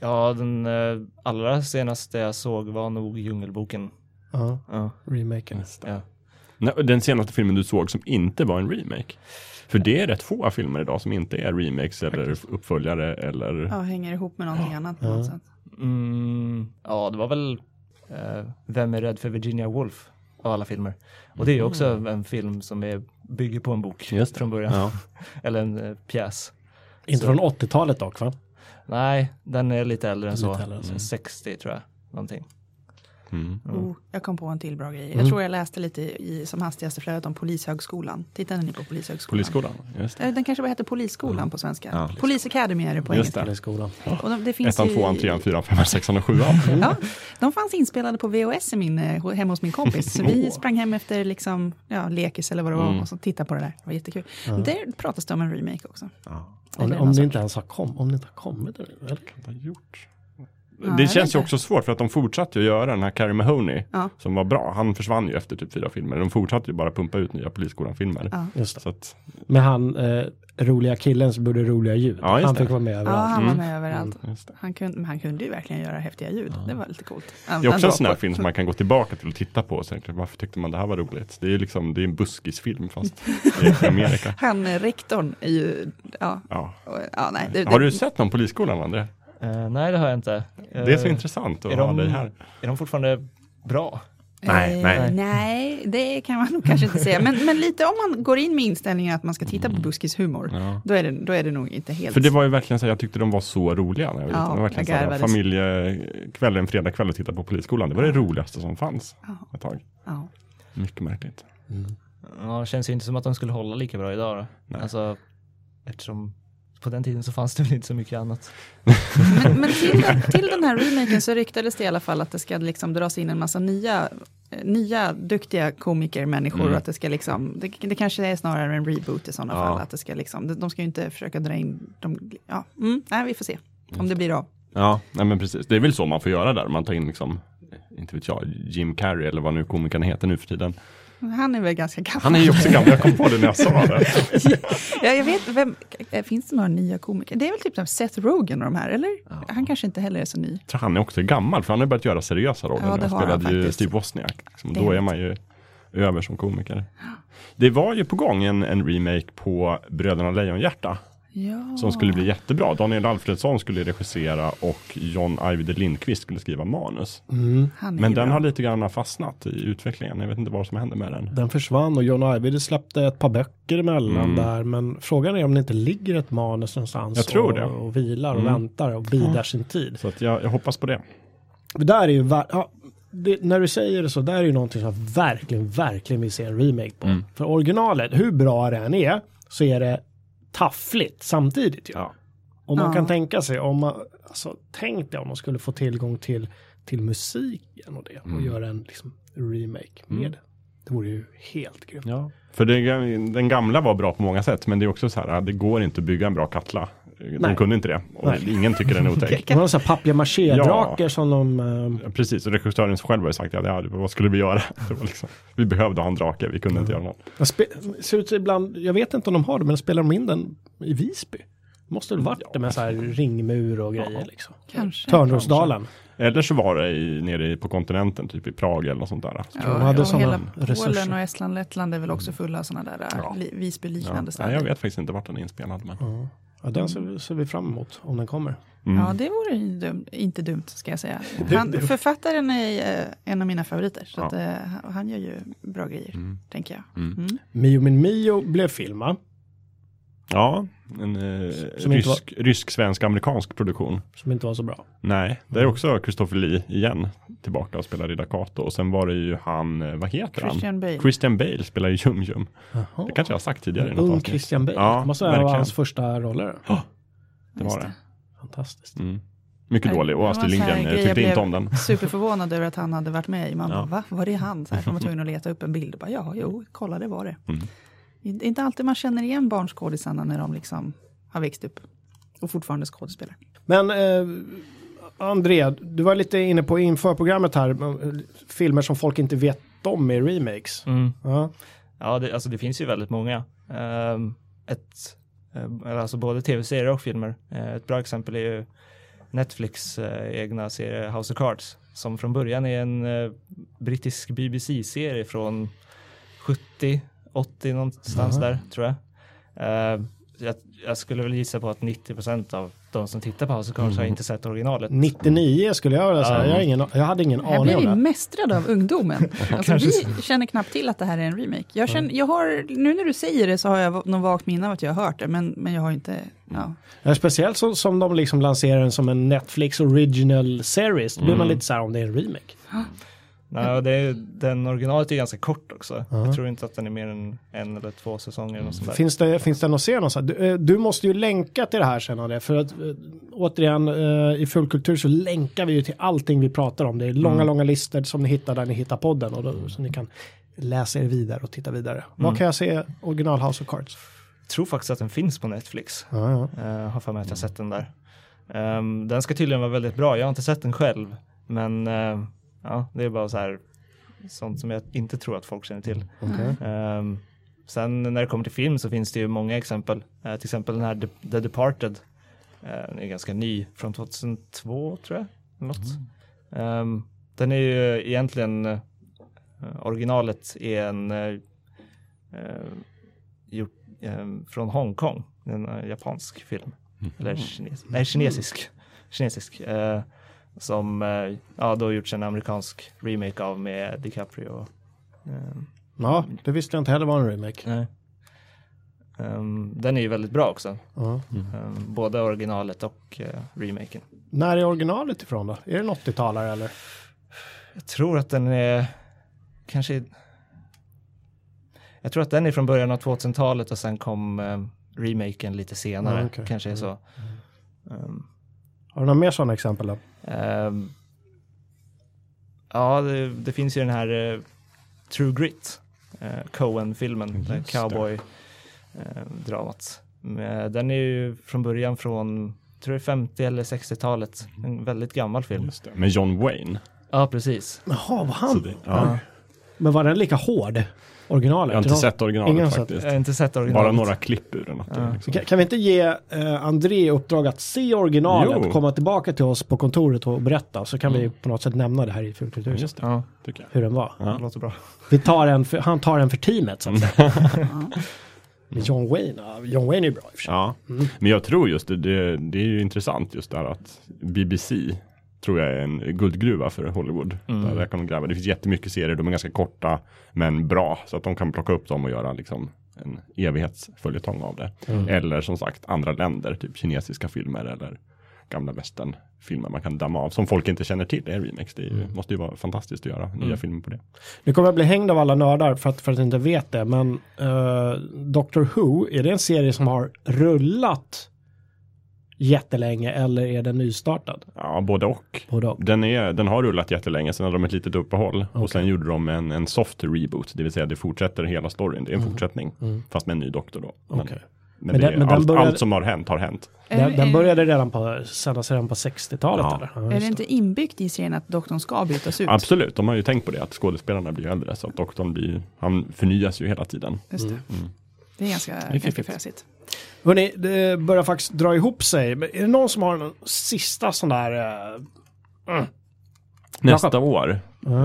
Speaker 4: Ja, den eh, allra senaste jag såg var nog Djungelboken.
Speaker 1: Ja,
Speaker 4: Ja,
Speaker 1: remaken.
Speaker 3: Mm.
Speaker 4: ja.
Speaker 3: Nej, och Den senaste filmen du såg som inte var en remake. För det är rätt få filmer idag som inte är remakes eller uppföljare eller...
Speaker 2: Ja, hänger ihop med någonting annat på något sätt.
Speaker 4: Mm, ja, det var väl eh, Vem är rädd för Virginia Woolf av alla filmer. Och det är ju också en film som är, bygger på en bok
Speaker 3: Mm. Just det.
Speaker 4: från början. Eller en eh, pjäs.
Speaker 1: Inte från 80-talet dock, va?
Speaker 4: Nej, den är lite äldre än så.
Speaker 1: Lite äldre än så.
Speaker 4: Mm. 60 tror jag. Någonting.
Speaker 3: Mm.
Speaker 2: Oh, jag kom på en till bra grej. Jag
Speaker 1: Mm.
Speaker 2: tror jag läste lite i, som hastigaste flödet om Polishögskolan. Tittade ni på Polishögskolan?
Speaker 3: Polisskolan. Just det.
Speaker 2: Eh, Den kanske bara heter Polisskolan på svenska.
Speaker 3: Ja.
Speaker 2: Police Academy är det på
Speaker 3: Just
Speaker 2: engelska.
Speaker 1: Eller i skolan.
Speaker 2: Och de, det finns
Speaker 3: Ettan,
Speaker 2: ju-
Speaker 3: tvåan, trean, fyran, femman, sexan och sjuan.
Speaker 2: Ja, de fanns inspelade på VHS i min, eh, hemma hos min kompis. Så vi sprang hem efter liksom, ja, lekis eller vad det var
Speaker 3: Mm.
Speaker 2: och så tittade på det där. Det var jättekul. Där pratas det om en remake också.
Speaker 1: Om,
Speaker 2: Eller
Speaker 1: om,
Speaker 2: någon
Speaker 1: det
Speaker 2: sorts-
Speaker 1: inte ens har kom, om det inte har kommit. än, väl?
Speaker 3: Vad har jag gjort?
Speaker 2: jag
Speaker 3: det
Speaker 2: vet
Speaker 3: känns
Speaker 2: inte.
Speaker 3: ju också svårt för att de fortsatte ju göra den här Carrie Mahoney
Speaker 2: Ja.
Speaker 3: som var bra. Han försvann ju efter typ fyra filmer. De fortsatte ju bara pumpa ut nya Polisskolan-filmer.
Speaker 2: Ja.
Speaker 1: Just det.
Speaker 3: Så att,
Speaker 1: Med han eh, roliga killen som gjorde roliga ljud.
Speaker 3: Ja, just
Speaker 1: han
Speaker 3: det.
Speaker 1: fick vara med
Speaker 2: Ja,
Speaker 1: överallt.
Speaker 2: han var
Speaker 3: Mm.
Speaker 2: med överallt.
Speaker 3: just det.
Speaker 2: Han kunde, men han kunde ju verkligen göra häftiga ljud. Det var lite coolt.
Speaker 3: det är också en sån här
Speaker 2: Ändå.
Speaker 3: film som man kan gå tillbaka till och titta på och tänka varför tyckte man det här var roligt? Det är ju liksom, det är en buskisfilm fast i Amerika.
Speaker 2: Han eh, rektorn är ju, ja,
Speaker 3: Ja.
Speaker 2: och- ja nej. Det,
Speaker 3: Har du
Speaker 2: det,
Speaker 3: sett någon Polisskolan André?
Speaker 4: Eh, nej, det har jag inte.
Speaker 3: Det är så intressant att
Speaker 4: Är
Speaker 3: ha
Speaker 4: de,
Speaker 3: dig här.
Speaker 4: är de fortfarande bra?
Speaker 3: Nej,
Speaker 2: Eh,
Speaker 3: nej.
Speaker 2: nej, det kan man nog kanske inte säga. Men, men lite om man går in med inställningen att man ska titta på Buskis humor,
Speaker 3: Ja.
Speaker 2: då, är det, då är det nog inte helt...
Speaker 3: Mm. För det var ju verkligen så här, jag tyckte de var så roliga. När jag var
Speaker 2: Ja,
Speaker 3: liten. det var verkligen
Speaker 2: jag
Speaker 3: så här,
Speaker 2: garvades.
Speaker 3: familjekväll, en fredagkväll och titta på Polisskolan. Det var det roligaste som fanns
Speaker 2: Ja.
Speaker 3: ett tag.
Speaker 2: Ja.
Speaker 3: Mycket märkligt.
Speaker 4: Ja, det känns ju inte som att de skulle hålla lika bra idag då.
Speaker 3: Nej.
Speaker 4: Alltså, eftersom på den tiden så fanns det väl inte så mycket annat.
Speaker 2: Men, men till, den, till den här remaken så ryktades det i alla fall att det ska liksom dras in en massa nya, eh, nya duktiga komiker, människor. Och att det, ska liksom, det, det kanske är snarare en reboot i sådana
Speaker 3: Mm. Ja.
Speaker 2: fall. Att det ska liksom, de, de ska ju inte försöka dra in... De, ja, mm, nej, vi får se om det blir av.
Speaker 3: Ja, nej men precis. Det är väl så man får göra där. Man tar in liksom, inte vet jag, Jim Carrey eller vad nu komikern heter nu för tiden.
Speaker 2: Han är väl ganska gammal.
Speaker 3: Han är ju också gammal, jag kom på det när jag sa det.
Speaker 2: ja, jag vet, vem, eh, finns det några nya komiker? Det är väl typ som Seth Rogen och de här, eller? Han kanske inte heller är så ny.
Speaker 3: Jag tror han är också gammal, för han har börjat göra seriösa roller.
Speaker 2: Ja,
Speaker 3: nu.
Speaker 2: det
Speaker 3: han
Speaker 2: har han
Speaker 3: spelade ju
Speaker 2: faktiskt.
Speaker 3: Steve Wozniak. Liksom.
Speaker 2: Det
Speaker 3: Då
Speaker 2: är
Speaker 3: är man ju över som komiker. Det var ju på gång en, en remake på Bröderna Lejonhjärta.
Speaker 2: Ja.
Speaker 3: Som skulle bli jättebra. Daniel Alfredsson skulle regissera och John Ajvide Lindqvist skulle skriva manus.
Speaker 2: han Mm. är
Speaker 3: Men
Speaker 2: ju
Speaker 3: den
Speaker 2: bra.
Speaker 3: har lite grann fastnat i utvecklingen. Jag vet inte vad som hände med den.
Speaker 1: Den försvann och John Ajvide släppte ett par böcker emellan där. Men frågan är om det inte ligger ett manus någonstans
Speaker 3: Mm. Jag tror
Speaker 1: och,
Speaker 3: det. Mm.
Speaker 1: och vilar och väntar och bidar sin tid.
Speaker 3: Så att jag, jag hoppas på det.
Speaker 1: Det där är ju, ver- ja, det, när du säger det så, där är ju någonting som jag verkligen, verkligen vill se en remake på. För originalet, hur bra det än är, så är det taffligt samtidigt ju. Och man
Speaker 2: Ja.
Speaker 1: kan tänka sig, om man, alltså, tänk dig om man skulle få tillgång till, till musiken och det och göra en liksom, remake med det. Det vore ju helt grymt.
Speaker 3: Ja. För det, den gamla var bra på många sätt, men det är också så här, det går inte att bygga en bra Katla. De
Speaker 1: Nej.
Speaker 3: kunde inte det. Och
Speaker 1: Nej.
Speaker 3: ingen tycker den är otäck.
Speaker 1: Det var sån här papier-maché-drake som de... ehm,
Speaker 3: Ja, Precis, och regissören själv har ju sagt att ja, det- vad skulle vi göra? Det var liksom, vi behövde ha en drake, vi kunde inte göra något.
Speaker 1: jag spe- ser ut så ibland, jag vet inte om de har det, men spelar de in den i Visby? Måste det varit det med så här ringmur och grejer liksom.
Speaker 2: Kanske.
Speaker 1: Törnrosdalen.
Speaker 3: Eller så var det i, nere i- på kontinenten, typ i Prag eller något sånt där.
Speaker 2: Ja,
Speaker 1: de hade
Speaker 2: och
Speaker 1: såna
Speaker 2: hela Polen
Speaker 1: resurser.
Speaker 2: och Estland, Lettland är väl också fulla av sådana där eh,
Speaker 3: Ja.
Speaker 2: li-
Speaker 3: Ja.
Speaker 2: Visby-liknande
Speaker 3: Nej,
Speaker 2: städer.
Speaker 3: jag vet faktiskt inte vart den är inspelad. Men...
Speaker 1: Ja, den ser, ser vi fram emot om den kommer.
Speaker 2: Ja,
Speaker 3: Mm.
Speaker 2: det vore ju dum, inte dumt ska jag säga.
Speaker 1: Det-
Speaker 2: Han,
Speaker 1: det-
Speaker 2: författaren är eh, en av mina favoriter, så
Speaker 3: Ja.
Speaker 2: att, eh, han- han gör ju bra grejer, tänker jag. Mm.
Speaker 1: Mio min Mio blev film va?
Speaker 3: Ja, en eh,
Speaker 1: Som inte var-
Speaker 3: rysk, rysk, svensk, amerikansk produktion.
Speaker 1: Som inte var så bra.
Speaker 3: Nej, det är också Christopher Lee igen tillbaka och spelar Rida Kato. Och sen var det ju han, eh, vad heter
Speaker 2: Christian
Speaker 3: han?
Speaker 2: Bale.
Speaker 3: Christian Bale spelar ju Jum Jum.
Speaker 1: Jaha.
Speaker 3: Det kanske jag har sagt tidigare. i något
Speaker 1: Ung
Speaker 3: avsnitt.
Speaker 1: Oh, Christian Bale.
Speaker 3: Ja,
Speaker 1: det måste vara en av
Speaker 3: verkligen.
Speaker 1: hans första roller.
Speaker 3: Det var det.
Speaker 1: Fantastiskt.
Speaker 3: Mm. Mycket
Speaker 2: Nej,
Speaker 3: dålig
Speaker 2: det
Speaker 3: och
Speaker 2: var
Speaker 3: Astrid
Speaker 2: så här
Speaker 3: Lindgren
Speaker 2: grej
Speaker 3: eh,
Speaker 2: jag
Speaker 3: tyckte inte
Speaker 2: blev- Mm.
Speaker 3: om den.
Speaker 2: Superförvånad över att han hade varit med i. Man bara,
Speaker 3: Ja.
Speaker 2: va? Var det han? Så här, de var tvungna att leta upp en bild. och Bara, ja, jo, kolla det var det.
Speaker 3: Mm.
Speaker 2: Det är inte alltid man känner igen barnskådisarna när de liksom har växt upp och fortfarande skådespelar.
Speaker 1: Men eh, André, du var lite inne på inför programmet här, eh, filmer som folk inte vet om i remakes. Ja.
Speaker 4: Mm. Ja, det, alltså det finns ju väldigt många. Ehm, ett, ehm, eller alltså både tv-serier och filmer. Eh, ett bra exempel är ju Netflix eh, egna serie House of Cards som från början är en eh, brittisk BBC-serie från 70, 80 någonstans där tror jag. Ehm, jag. Jag skulle väl gissa på att 90 av de som tittar på House of Cards har inte sett originalet.
Speaker 1: Mm. 99 skulle jag vilja säga,
Speaker 4: Ja.
Speaker 1: jag, har ingen, jag hade ingen
Speaker 2: Här
Speaker 1: aning
Speaker 2: blir
Speaker 1: om
Speaker 2: vi
Speaker 1: det.
Speaker 2: mästrad av ungdomen. Alltså, vi känner knappt till att det här är en remake. Jag känner, jag har, nu när du säger det så har jag va- någon vagt minne av att jag har hört det, men, men jag har inte... Ja.
Speaker 1: Ja, speciellt så, som de liksom lanserar den som en Netflix original series. Då blir man lite så här om det är en remake.
Speaker 4: Nej, och det är, den originalet är ganska kort också. Jag tror inte att den är mer än en eller två säsonger. Eller något sånt där.
Speaker 1: Finns det, finns det något att se någonstans? Du, eh, du måste ju länka till det här sen André, för att eh, återigen eh, i fullkultur så länkar vi ju till allting vi pratar om. Det är långa, långa listor som ni hittar där ni hittar podden och då, så ni kan läsa er vidare och titta vidare. Vad kan jag se original House of Cards?
Speaker 4: tror faktiskt att den finns på Netflix.
Speaker 1: Ja, ja.
Speaker 4: Eh, har för mig att jag sett den där. Ehm, den ska tydligen vara väldigt bra. Jag har inte sett den själv. Men eh, ja, det är bara så här sånt som jag inte tror att folk känner till.
Speaker 2: Mm.
Speaker 4: Ehm, sen när det kommer till film så finns det ju många exempel. Eh, till exempel den här De- The Departed. Eh, den är ganska ny, från 2002 tror jag. Något. Ehm, den är ju egentligen, eh, originalet är en eh, eh, gjort eh, från Hongkong, en eh, japansk film. Eller kines nej, kinesisk. kinesisk. Eh, Som eh, ja, då gjorts en amerikansk remake av med DiCaprio. och, ehm,
Speaker 1: Ja, det visste jag inte heller var en remake.
Speaker 4: nej. Ehm, den är ju väldigt bra också.
Speaker 1: Ja.
Speaker 4: Ehm, både originalet och eh, remaken.
Speaker 1: När är originalet ifrån då? Är det en 80-talare eller?
Speaker 4: Jag tror att den är kanske... Jag tror att den är från början av 2000-talet och sen kom eh, remaken lite senare.
Speaker 1: Ja, okej. Mm.
Speaker 4: Kanske är så. Ehm,
Speaker 1: Har du några mer sådana exempel då?
Speaker 4: Ehm, ja, det, det finns ju den här eh, True Grit, eh, Coen-filmen,
Speaker 3: Mm, Just
Speaker 4: cowboy-dramat. Eh, den är ju från början från, tror jag 50 eller 60-talet, en väldigt gammal film.
Speaker 3: Mm. Just det. Med John Wayne.
Speaker 4: Ja, precis.
Speaker 1: Jaha, var
Speaker 3: Så
Speaker 1: han?
Speaker 3: det, ja.
Speaker 1: Men var den lika hård? Originalet?
Speaker 3: Jag har inte
Speaker 1: Någon-
Speaker 3: sett
Speaker 1: Ingen har
Speaker 3: originalet
Speaker 1: sett.
Speaker 3: faktiskt.
Speaker 4: Jag har inte sett originalet.
Speaker 3: Bara några klipp ur den. Att det, liksom.
Speaker 1: Kan, kan vi inte ge eh, André i uppdrag att se originalet,
Speaker 3: Jo. Mm.
Speaker 1: komma tillbaka till oss på kontoret och berätta, så kan vi på något sätt nämna det här i Fulkulturhuset,
Speaker 3: Just det,
Speaker 4: Ja,
Speaker 3: tycker jag.
Speaker 1: hur den var.
Speaker 4: det låter bra.
Speaker 1: Vi tar en för, han tar en för teamet, så att säga. Men John Wayne, ja, John Wayne är bra i och för sig.
Speaker 3: Ja, men jag tror just det, det, det är ju intressant just det här att BBC tror jag är en guldgruva för Hollywood. Där, där kan de gräva. Det finns jättemycket serier, de är ganska korta men bra. Så att de kan plocka upp dem och göra liksom en evighetsföljetong av det. Eller som sagt andra länder, typ kinesiska filmer eller gamla västernfilmer man kan damma av. Som folk inte känner till, det är remakes. Det är ju, måste ju vara fantastiskt att göra nya filmer på det.
Speaker 1: Nu kommer jag bli hängd av alla nördar för att, för att jag inte vet det, men eh, Doctor Who, är det en serie som har rullat jättelänge eller är den nystartad?
Speaker 3: Ja, både och.
Speaker 1: Både och.
Speaker 3: Den, är, den har rullat jättelänge, sen hade de ett litet uppehåll och sen gjorde de en, en soft reboot, det vill säga det fortsätter hela storyn, det är en fortsättning, fast med en ny doktor då. Men,
Speaker 1: Mm. Okej.
Speaker 3: men,
Speaker 1: Men
Speaker 3: det,
Speaker 1: den- men den
Speaker 3: allt,
Speaker 1: började-
Speaker 3: allt som har hänt har hänt.
Speaker 2: Är-
Speaker 1: Den, den
Speaker 2: är-
Speaker 1: började redan på, sändas redan på 60-talet
Speaker 3: Ja.
Speaker 1: eller? Ja,
Speaker 2: Är
Speaker 1: just
Speaker 2: det inte inbyggt i serien att doktorn ska bytas ut?
Speaker 3: Absolut, de har ju tänkt på det, att skådespelarna blir äldre, så att doktorn blir, han förnyas ju hela tiden.
Speaker 2: Just det. det är ganska, ganska fräsigt.
Speaker 1: Hörrni, det börjar faktiskt dra ihop sig. Men Är det någon som har en sista sån där... eh,
Speaker 3: Nästa år,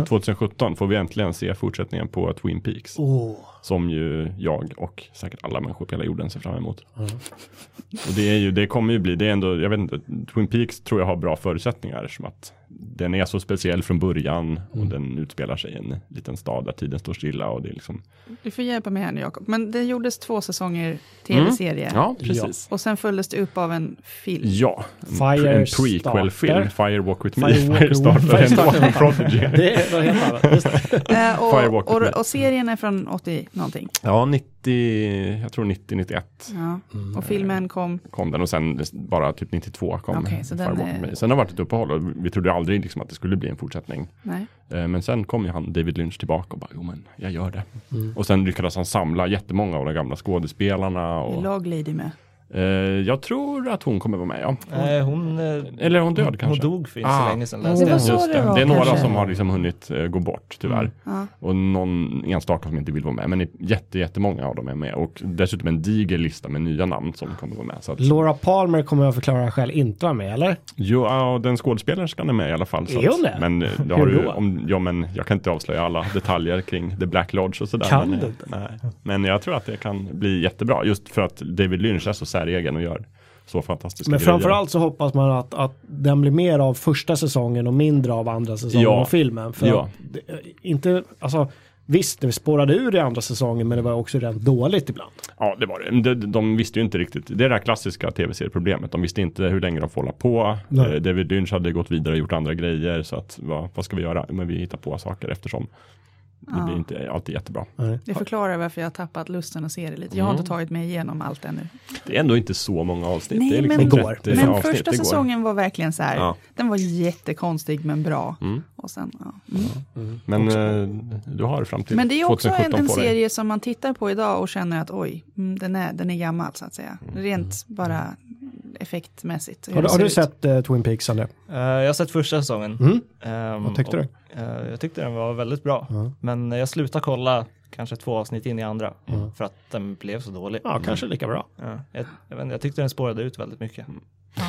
Speaker 3: 2017, får vi äntligen se fortsättningen på Twin Peaks,
Speaker 1: Åh,
Speaker 3: som ju jag och säkert alla människor på hela jorden ser fram emot. Och det, är ju, det kommer ju bli, det är ändå, jag vet inte, Twin Peaks tror jag har bra förutsättningar som att den är så speciell från början och
Speaker 1: Mm.
Speaker 3: den utspelar sig i en liten stad där tiden står stilla och det är liksom.
Speaker 2: Du får hjälpa mig här nu Jakob. Men det gjordes två säsonger tv-serie.
Speaker 3: Mm,
Speaker 1: precis.
Speaker 2: Och sen följdes det upp av en film.
Speaker 3: Ja, en, pre- en
Speaker 1: Firestarter.
Speaker 3: prequel-film, Fire Walk With Me,
Speaker 1: Fire Walk-
Speaker 3: Firestarter,
Speaker 1: Firestarter.
Speaker 3: Firestarter. en Prodigy.
Speaker 1: det är något helt annat. Just det.
Speaker 2: Eh,
Speaker 3: Firewalk
Speaker 2: och,
Speaker 3: with me.
Speaker 2: och, och serien är från 80 någonting.
Speaker 3: Ja, 90, jag tror 90-91
Speaker 2: Ja.
Speaker 3: Mm,
Speaker 2: Och filmen kom,
Speaker 3: kom den och sen bara typ 92 kom
Speaker 2: Okej, så den
Speaker 3: Fire Walk
Speaker 2: är-
Speaker 3: With Me. Sen har det varit ett uppehåll och vi trodde aldrig liksom att det skulle bli en fortsättning.
Speaker 2: nej.
Speaker 3: Eh, Men sen kom ju han David Lynch tillbaka och bara, jo men jag gör det.
Speaker 4: Mm.
Speaker 3: Och sen lyckades han samla jättemånga av de gamla skådespelarna.
Speaker 2: Är
Speaker 3: Och,
Speaker 2: Log Lady med?
Speaker 3: eh, jag tror att hon kommer vara med, ja.
Speaker 4: Nej, hon, eh,
Speaker 3: Eller är hon död
Speaker 4: hon, hon
Speaker 3: kanske?
Speaker 4: dog för inte
Speaker 3: Ah.
Speaker 4: så länge sedan läste
Speaker 2: Det var
Speaker 4: jag.
Speaker 2: så det var,
Speaker 3: Det är några
Speaker 2: kanske. Mm.
Speaker 3: som har liksom hunnit eh, gå bort tyvärr.
Speaker 2: Ja.
Speaker 3: Och någon enstaka som inte vill vara med. Men jätte, jättemånga av dem är med. Och dessutom en diger lista med nya namn som kommer vara med. Så att,
Speaker 1: Laura Palmer kommer jag förklara själv inte vara med, eller?
Speaker 3: jo, ja, den skådespelerskan är med i alla fall. Så
Speaker 1: Är hon det?
Speaker 3: men, eh, det
Speaker 1: Hur
Speaker 3: har du,
Speaker 1: då?
Speaker 3: om, ja, men jag kan inte avslöja alla detaljer kring The Black Lodge och sådär.
Speaker 1: Kan
Speaker 3: men,
Speaker 1: du
Speaker 3: eh,
Speaker 1: inte?
Speaker 3: Nej. Men jag tror att det kan bli jättebra. Just för att David Lynch är så säregen och gör så fantastiska
Speaker 1: Men
Speaker 3: grejer.
Speaker 1: framförallt så hoppas man att, att den blir mer av första säsongen och mindre av andra säsongen
Speaker 3: Ja.
Speaker 1: av filmen. För
Speaker 3: Ja.
Speaker 1: att det, eh, inte, alltså, visst, det spårade ur i andra säsongen, men det var också rent dåligt ibland.
Speaker 3: Ja, det var det. De, de visste ju inte riktigt. Det är det här klassiska tv-serieproblemet. De visste inte hur länge de får hålla på.
Speaker 1: Nej.
Speaker 3: Eh, David Lynch hade gått vidare och gjort andra grejer. Så att, vad, vad ska vi göra? Men vi hittar på saker eftersom det blir inte alltid jättebra.
Speaker 2: Det förklarar varför jag har tappat lusten att se det lite. Jag har inte tagit mig igenom allt ännu.
Speaker 3: Det är ändå inte så många avsnitt.
Speaker 2: Nej,
Speaker 3: Mm. det är liksom
Speaker 2: men-
Speaker 1: det går.
Speaker 3: 30
Speaker 2: Men
Speaker 3: avsnitt.
Speaker 2: första
Speaker 3: Det går.
Speaker 2: säsongen var verkligen så här,
Speaker 3: Ja.
Speaker 2: den var jättekonstig men bra. Och sen, ja. mm.
Speaker 3: Men eh, du har fram till
Speaker 2: Men det är också en,
Speaker 3: 2017
Speaker 2: en
Speaker 3: på dig.
Speaker 2: serie som man tittar på idag och känner att oj, mm, den är, den är gammal så att säga.
Speaker 3: Mm.
Speaker 2: Rent bara effektmässigt. hur
Speaker 1: Har, du-
Speaker 2: det
Speaker 1: har
Speaker 2: ser
Speaker 1: du
Speaker 2: ut.
Speaker 1: sett eh, Twin Peaks, André?
Speaker 4: Eh, jag har sett första säsongen. Ehm,
Speaker 1: Mm. Vad tyckte
Speaker 4: och, eh, jag tyckte den var väldigt bra. Men jag slutade kolla kanske två avsnitt in i andra för att den blev så dålig.
Speaker 1: Ja, kanske lika bra.
Speaker 4: Ja, jag, jag, vet inte, jag tyckte den spårade ut väldigt mycket.
Speaker 1: Mm.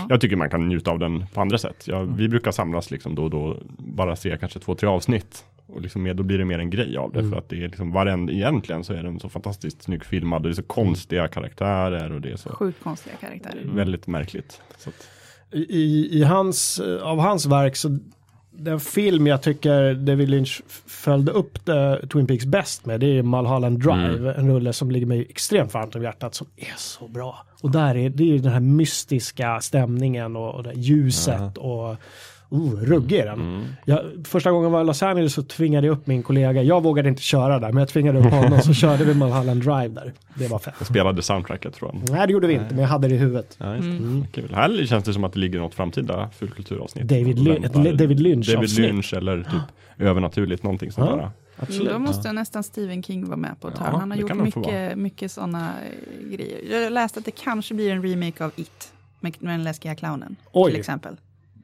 Speaker 3: Jag tycker man kan njuta av den på andra sätt. Jag,
Speaker 2: Mm.
Speaker 3: Vi brukar samlas liksom då och då, bara se kanske två, tre avsnitt. Och liksom mer, då blir det mer en grej av det.
Speaker 2: Mm.
Speaker 3: För att det är liksom varenda, egentligen så är den så fantastiskt snyggt
Speaker 2: Mm.
Speaker 3: filmad. Och det är så konstiga karaktärer och det är så Mm,
Speaker 2: Sjukt konstiga karaktärer.
Speaker 3: väldigt märkligt. Så att,
Speaker 1: i, i hans, eh, av hans verk så den film jag tycker David Lynch f- följde upp det, Twin Peaks bäst med det är Mulholland
Speaker 3: Mm.
Speaker 1: Drive, en rulle som ligger mig extremt varmt om hjärtat som är så bra. Och där är det är ju den här mystiska stämningen och, och det här ljuset och Oh, ruggig är den.
Speaker 3: Mm.
Speaker 1: Jag, första gången jag var i Los Angeles så tvingade jag upp min kollega, jag vågade inte köra där, men jag tvingade upp honom så körde vi Mulholland Drive där. Det var fett.
Speaker 3: Spelade soundtracket tror jag.
Speaker 1: Nej, det gjorde vi inte, men jag hade det i huvudet.
Speaker 3: Mm. Ja, just det.
Speaker 2: Mm.
Speaker 3: Kul. Här känns det som att det ligger något framtida fulkulturavsnitt.
Speaker 1: David Lyn-
Speaker 3: Lämpar-
Speaker 1: ett Le- David Lynch-avsnitt.
Speaker 3: David Lynch eller typ
Speaker 2: Ah.
Speaker 3: övernaturligt någonting sånt
Speaker 1: Ja.
Speaker 3: där.
Speaker 1: Absolut.
Speaker 2: Mm, Då måste nästan Stephen King vara med på ett
Speaker 3: Ja,
Speaker 2: hörn. Han har
Speaker 3: det
Speaker 2: gjort
Speaker 3: kan han få
Speaker 2: mycket, mycket sådana grejer. Jag läste att det kanske blir en remake av It, med med den läskiga clownen,
Speaker 1: Oj.
Speaker 2: till exempel.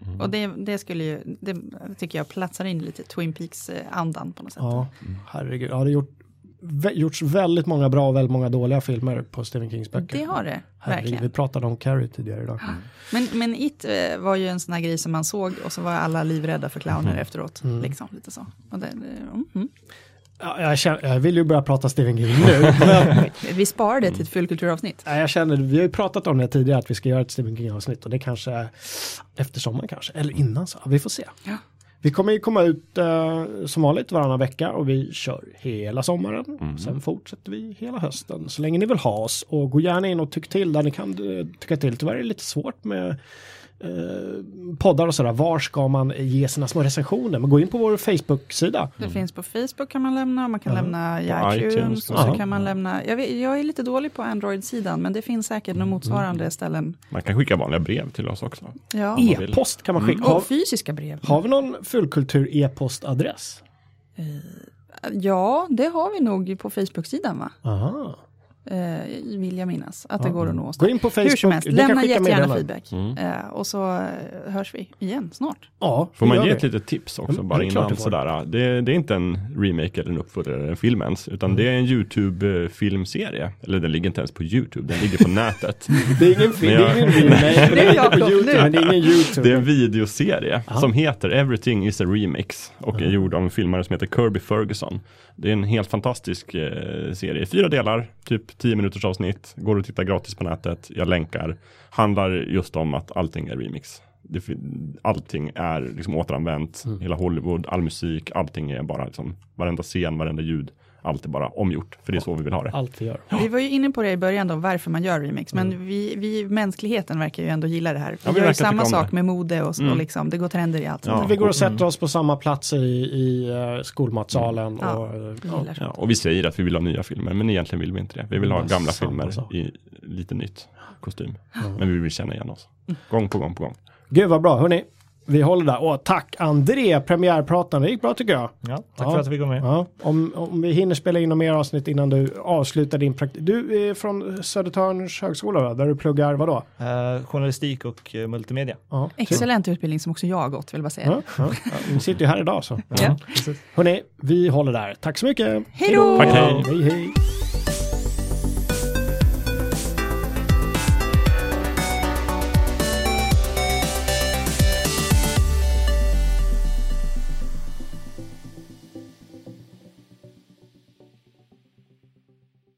Speaker 3: Mm.
Speaker 2: Och det, det skulle ju, det tycker jag platsar in lite Twin Peaks-andan på något sätt.
Speaker 1: Ja, herregud. Ja, det har gjort, vä- gjorts väldigt många bra och väldigt många dåliga filmer på Stephen Kings böcker.
Speaker 2: Det har det,
Speaker 1: Herregud, vi
Speaker 2: verkligen.
Speaker 1: pratade om Carrie tidigare idag.
Speaker 2: Men, men It eh, var ju en sån här grej som man såg och så var alla livrädda för clowner
Speaker 1: Mm.
Speaker 2: efteråt. Liksom, lite så. Och det, mm, mm.
Speaker 1: Ja, jag, känner, jag vill ju börja prata Stephen King nu. men,
Speaker 2: Vi sparar det till
Speaker 1: Mm.
Speaker 2: ett fullkulturavsnitt.
Speaker 1: nej, jag känner, vi har ju pratat om det tidigare att vi ska göra ett Stephen King-avsnitt och det kanske är efter sommaren kanske, eller innan så. Vi får se.
Speaker 2: Ja.
Speaker 1: Vi kommer ju komma ut eh, som vanligt varannan vecka och vi kör hela sommaren. Sen fortsätter vi hela hösten så länge ni vill ha oss. Och gå gärna in och tyck till där ni kan eh, tycka till. Tyvärr är det lite svårt med eh, poddar och sådär. Var ska man ge sina små recensioner? Men gå in på vår Facebook-sida.
Speaker 2: Det finns på Facebook kan man lämna och man kan lämna i
Speaker 3: iTunes,
Speaker 2: iTunes. och så
Speaker 1: ja.
Speaker 2: kan man lämna, jag, vet, jag är lite dålig på Android-sidan men det finns säkert
Speaker 1: Mm.
Speaker 2: några motsvarande ställen.
Speaker 3: Man kan skicka vanliga brev till oss också.
Speaker 2: Ja.
Speaker 3: vill.
Speaker 1: E-post kan man Mm. skicka. Har,
Speaker 2: Och fysiska brev.
Speaker 1: har vi någon fullkultur-e-postadress?
Speaker 2: Ja, det har vi nog på Facebook-sidan va?
Speaker 1: Aha.
Speaker 2: Eh, vill jag minnas att det går att nå oss.
Speaker 1: Gå in på Facebook.
Speaker 2: Hur som helst,
Speaker 1: Ni kan
Speaker 2: lämna
Speaker 1: skicka
Speaker 2: jättegärna
Speaker 1: meddelanden. Mm.
Speaker 2: feedback. Eh, och så eh, hörs vi igen snart.
Speaker 1: Ja,
Speaker 3: Får man
Speaker 1: gör
Speaker 3: ge
Speaker 1: vi.
Speaker 3: ett litet tips också
Speaker 1: Mm,
Speaker 3: bara
Speaker 1: det är klart
Speaker 3: innan
Speaker 1: du får.
Speaker 3: sådär. Det, det är inte en remake eller en uppföljare eller en film ens, utan
Speaker 1: Mm.
Speaker 3: det är en YouTube-filmserie. Eller den ligger inte ens på YouTube, den ligger på nätet.
Speaker 1: Det är ingen film,
Speaker 3: Men
Speaker 1: det är
Speaker 3: jag-
Speaker 1: ingen remake.
Speaker 2: Nu, Jakob,
Speaker 1: på YouTube,
Speaker 2: nu.
Speaker 1: Men det är ingen
Speaker 3: Det är
Speaker 1: YouTube.
Speaker 3: en videoserie som heter Everything is a remix och är gjord av en filmare som heter Kirby Ferguson. Det är en helt fantastisk eh, serie, fyra delar, typ 10 minuters avsnitt, går att titta gratis på nätet, jag länkar, handlar just om att allting är remix. Det, fin- allting är liksom återanvänt, hela Hollywood, all musik, allting är bara liksom, varenda scen, varenda ljud, allt är bara omgjort, för det är så vi vill ha det.
Speaker 1: Allt vi gör.
Speaker 2: Vi var ju inne på det i början då, varför man gör remix, men vi, vi, mänskligheten verkar ju ändå gilla det här. Vi,
Speaker 3: Mm. vi
Speaker 2: gör
Speaker 3: verkar
Speaker 2: ju
Speaker 3: tycka
Speaker 2: samma
Speaker 3: om
Speaker 2: sak
Speaker 3: det. Mm.
Speaker 2: med mode och, så, och liksom, det går trender i allt sånt
Speaker 3: Ja.
Speaker 2: där.
Speaker 1: Vi går och sätter oss på samma plats i, i eh, skolmatsalen.
Speaker 2: Ja.
Speaker 1: Och, eh,
Speaker 2: Jag gillar
Speaker 3: Ja,
Speaker 2: sånt.
Speaker 3: och vi säger att vi vill ha nya filmer, men egentligen vill vi inte det. Vi vill ha
Speaker 1: Vad
Speaker 3: gamla
Speaker 1: sant
Speaker 3: filmer
Speaker 1: alltså.
Speaker 3: i lite nytt kostym. Men vi vill känna igen oss. Gång på gång på gång.
Speaker 1: Gud vad bra, hörni. Vi håller där. Och tack André, premiärprataren. Det gick bra tycker
Speaker 3: Mm.
Speaker 1: jag.
Speaker 4: Ja, tack för att vi går med.
Speaker 1: Ja, om, om vi hinner spela in några mer avsnitt innan du avslutar din praktik. Du är från Södertörns högskola va? där du pluggar vadå?
Speaker 4: Eh, journalistik och eh, multimedia.
Speaker 1: Ja,
Speaker 2: Excellent utbildning som också jag har gått, vill jag bara säga.
Speaker 1: Ja, ja. Vi sitter ju här idag så.
Speaker 2: Ja.
Speaker 1: Hörni, vi håller där. Tack så mycket.
Speaker 2: Hej då!
Speaker 3: Tack, hej.
Speaker 1: hej, hej.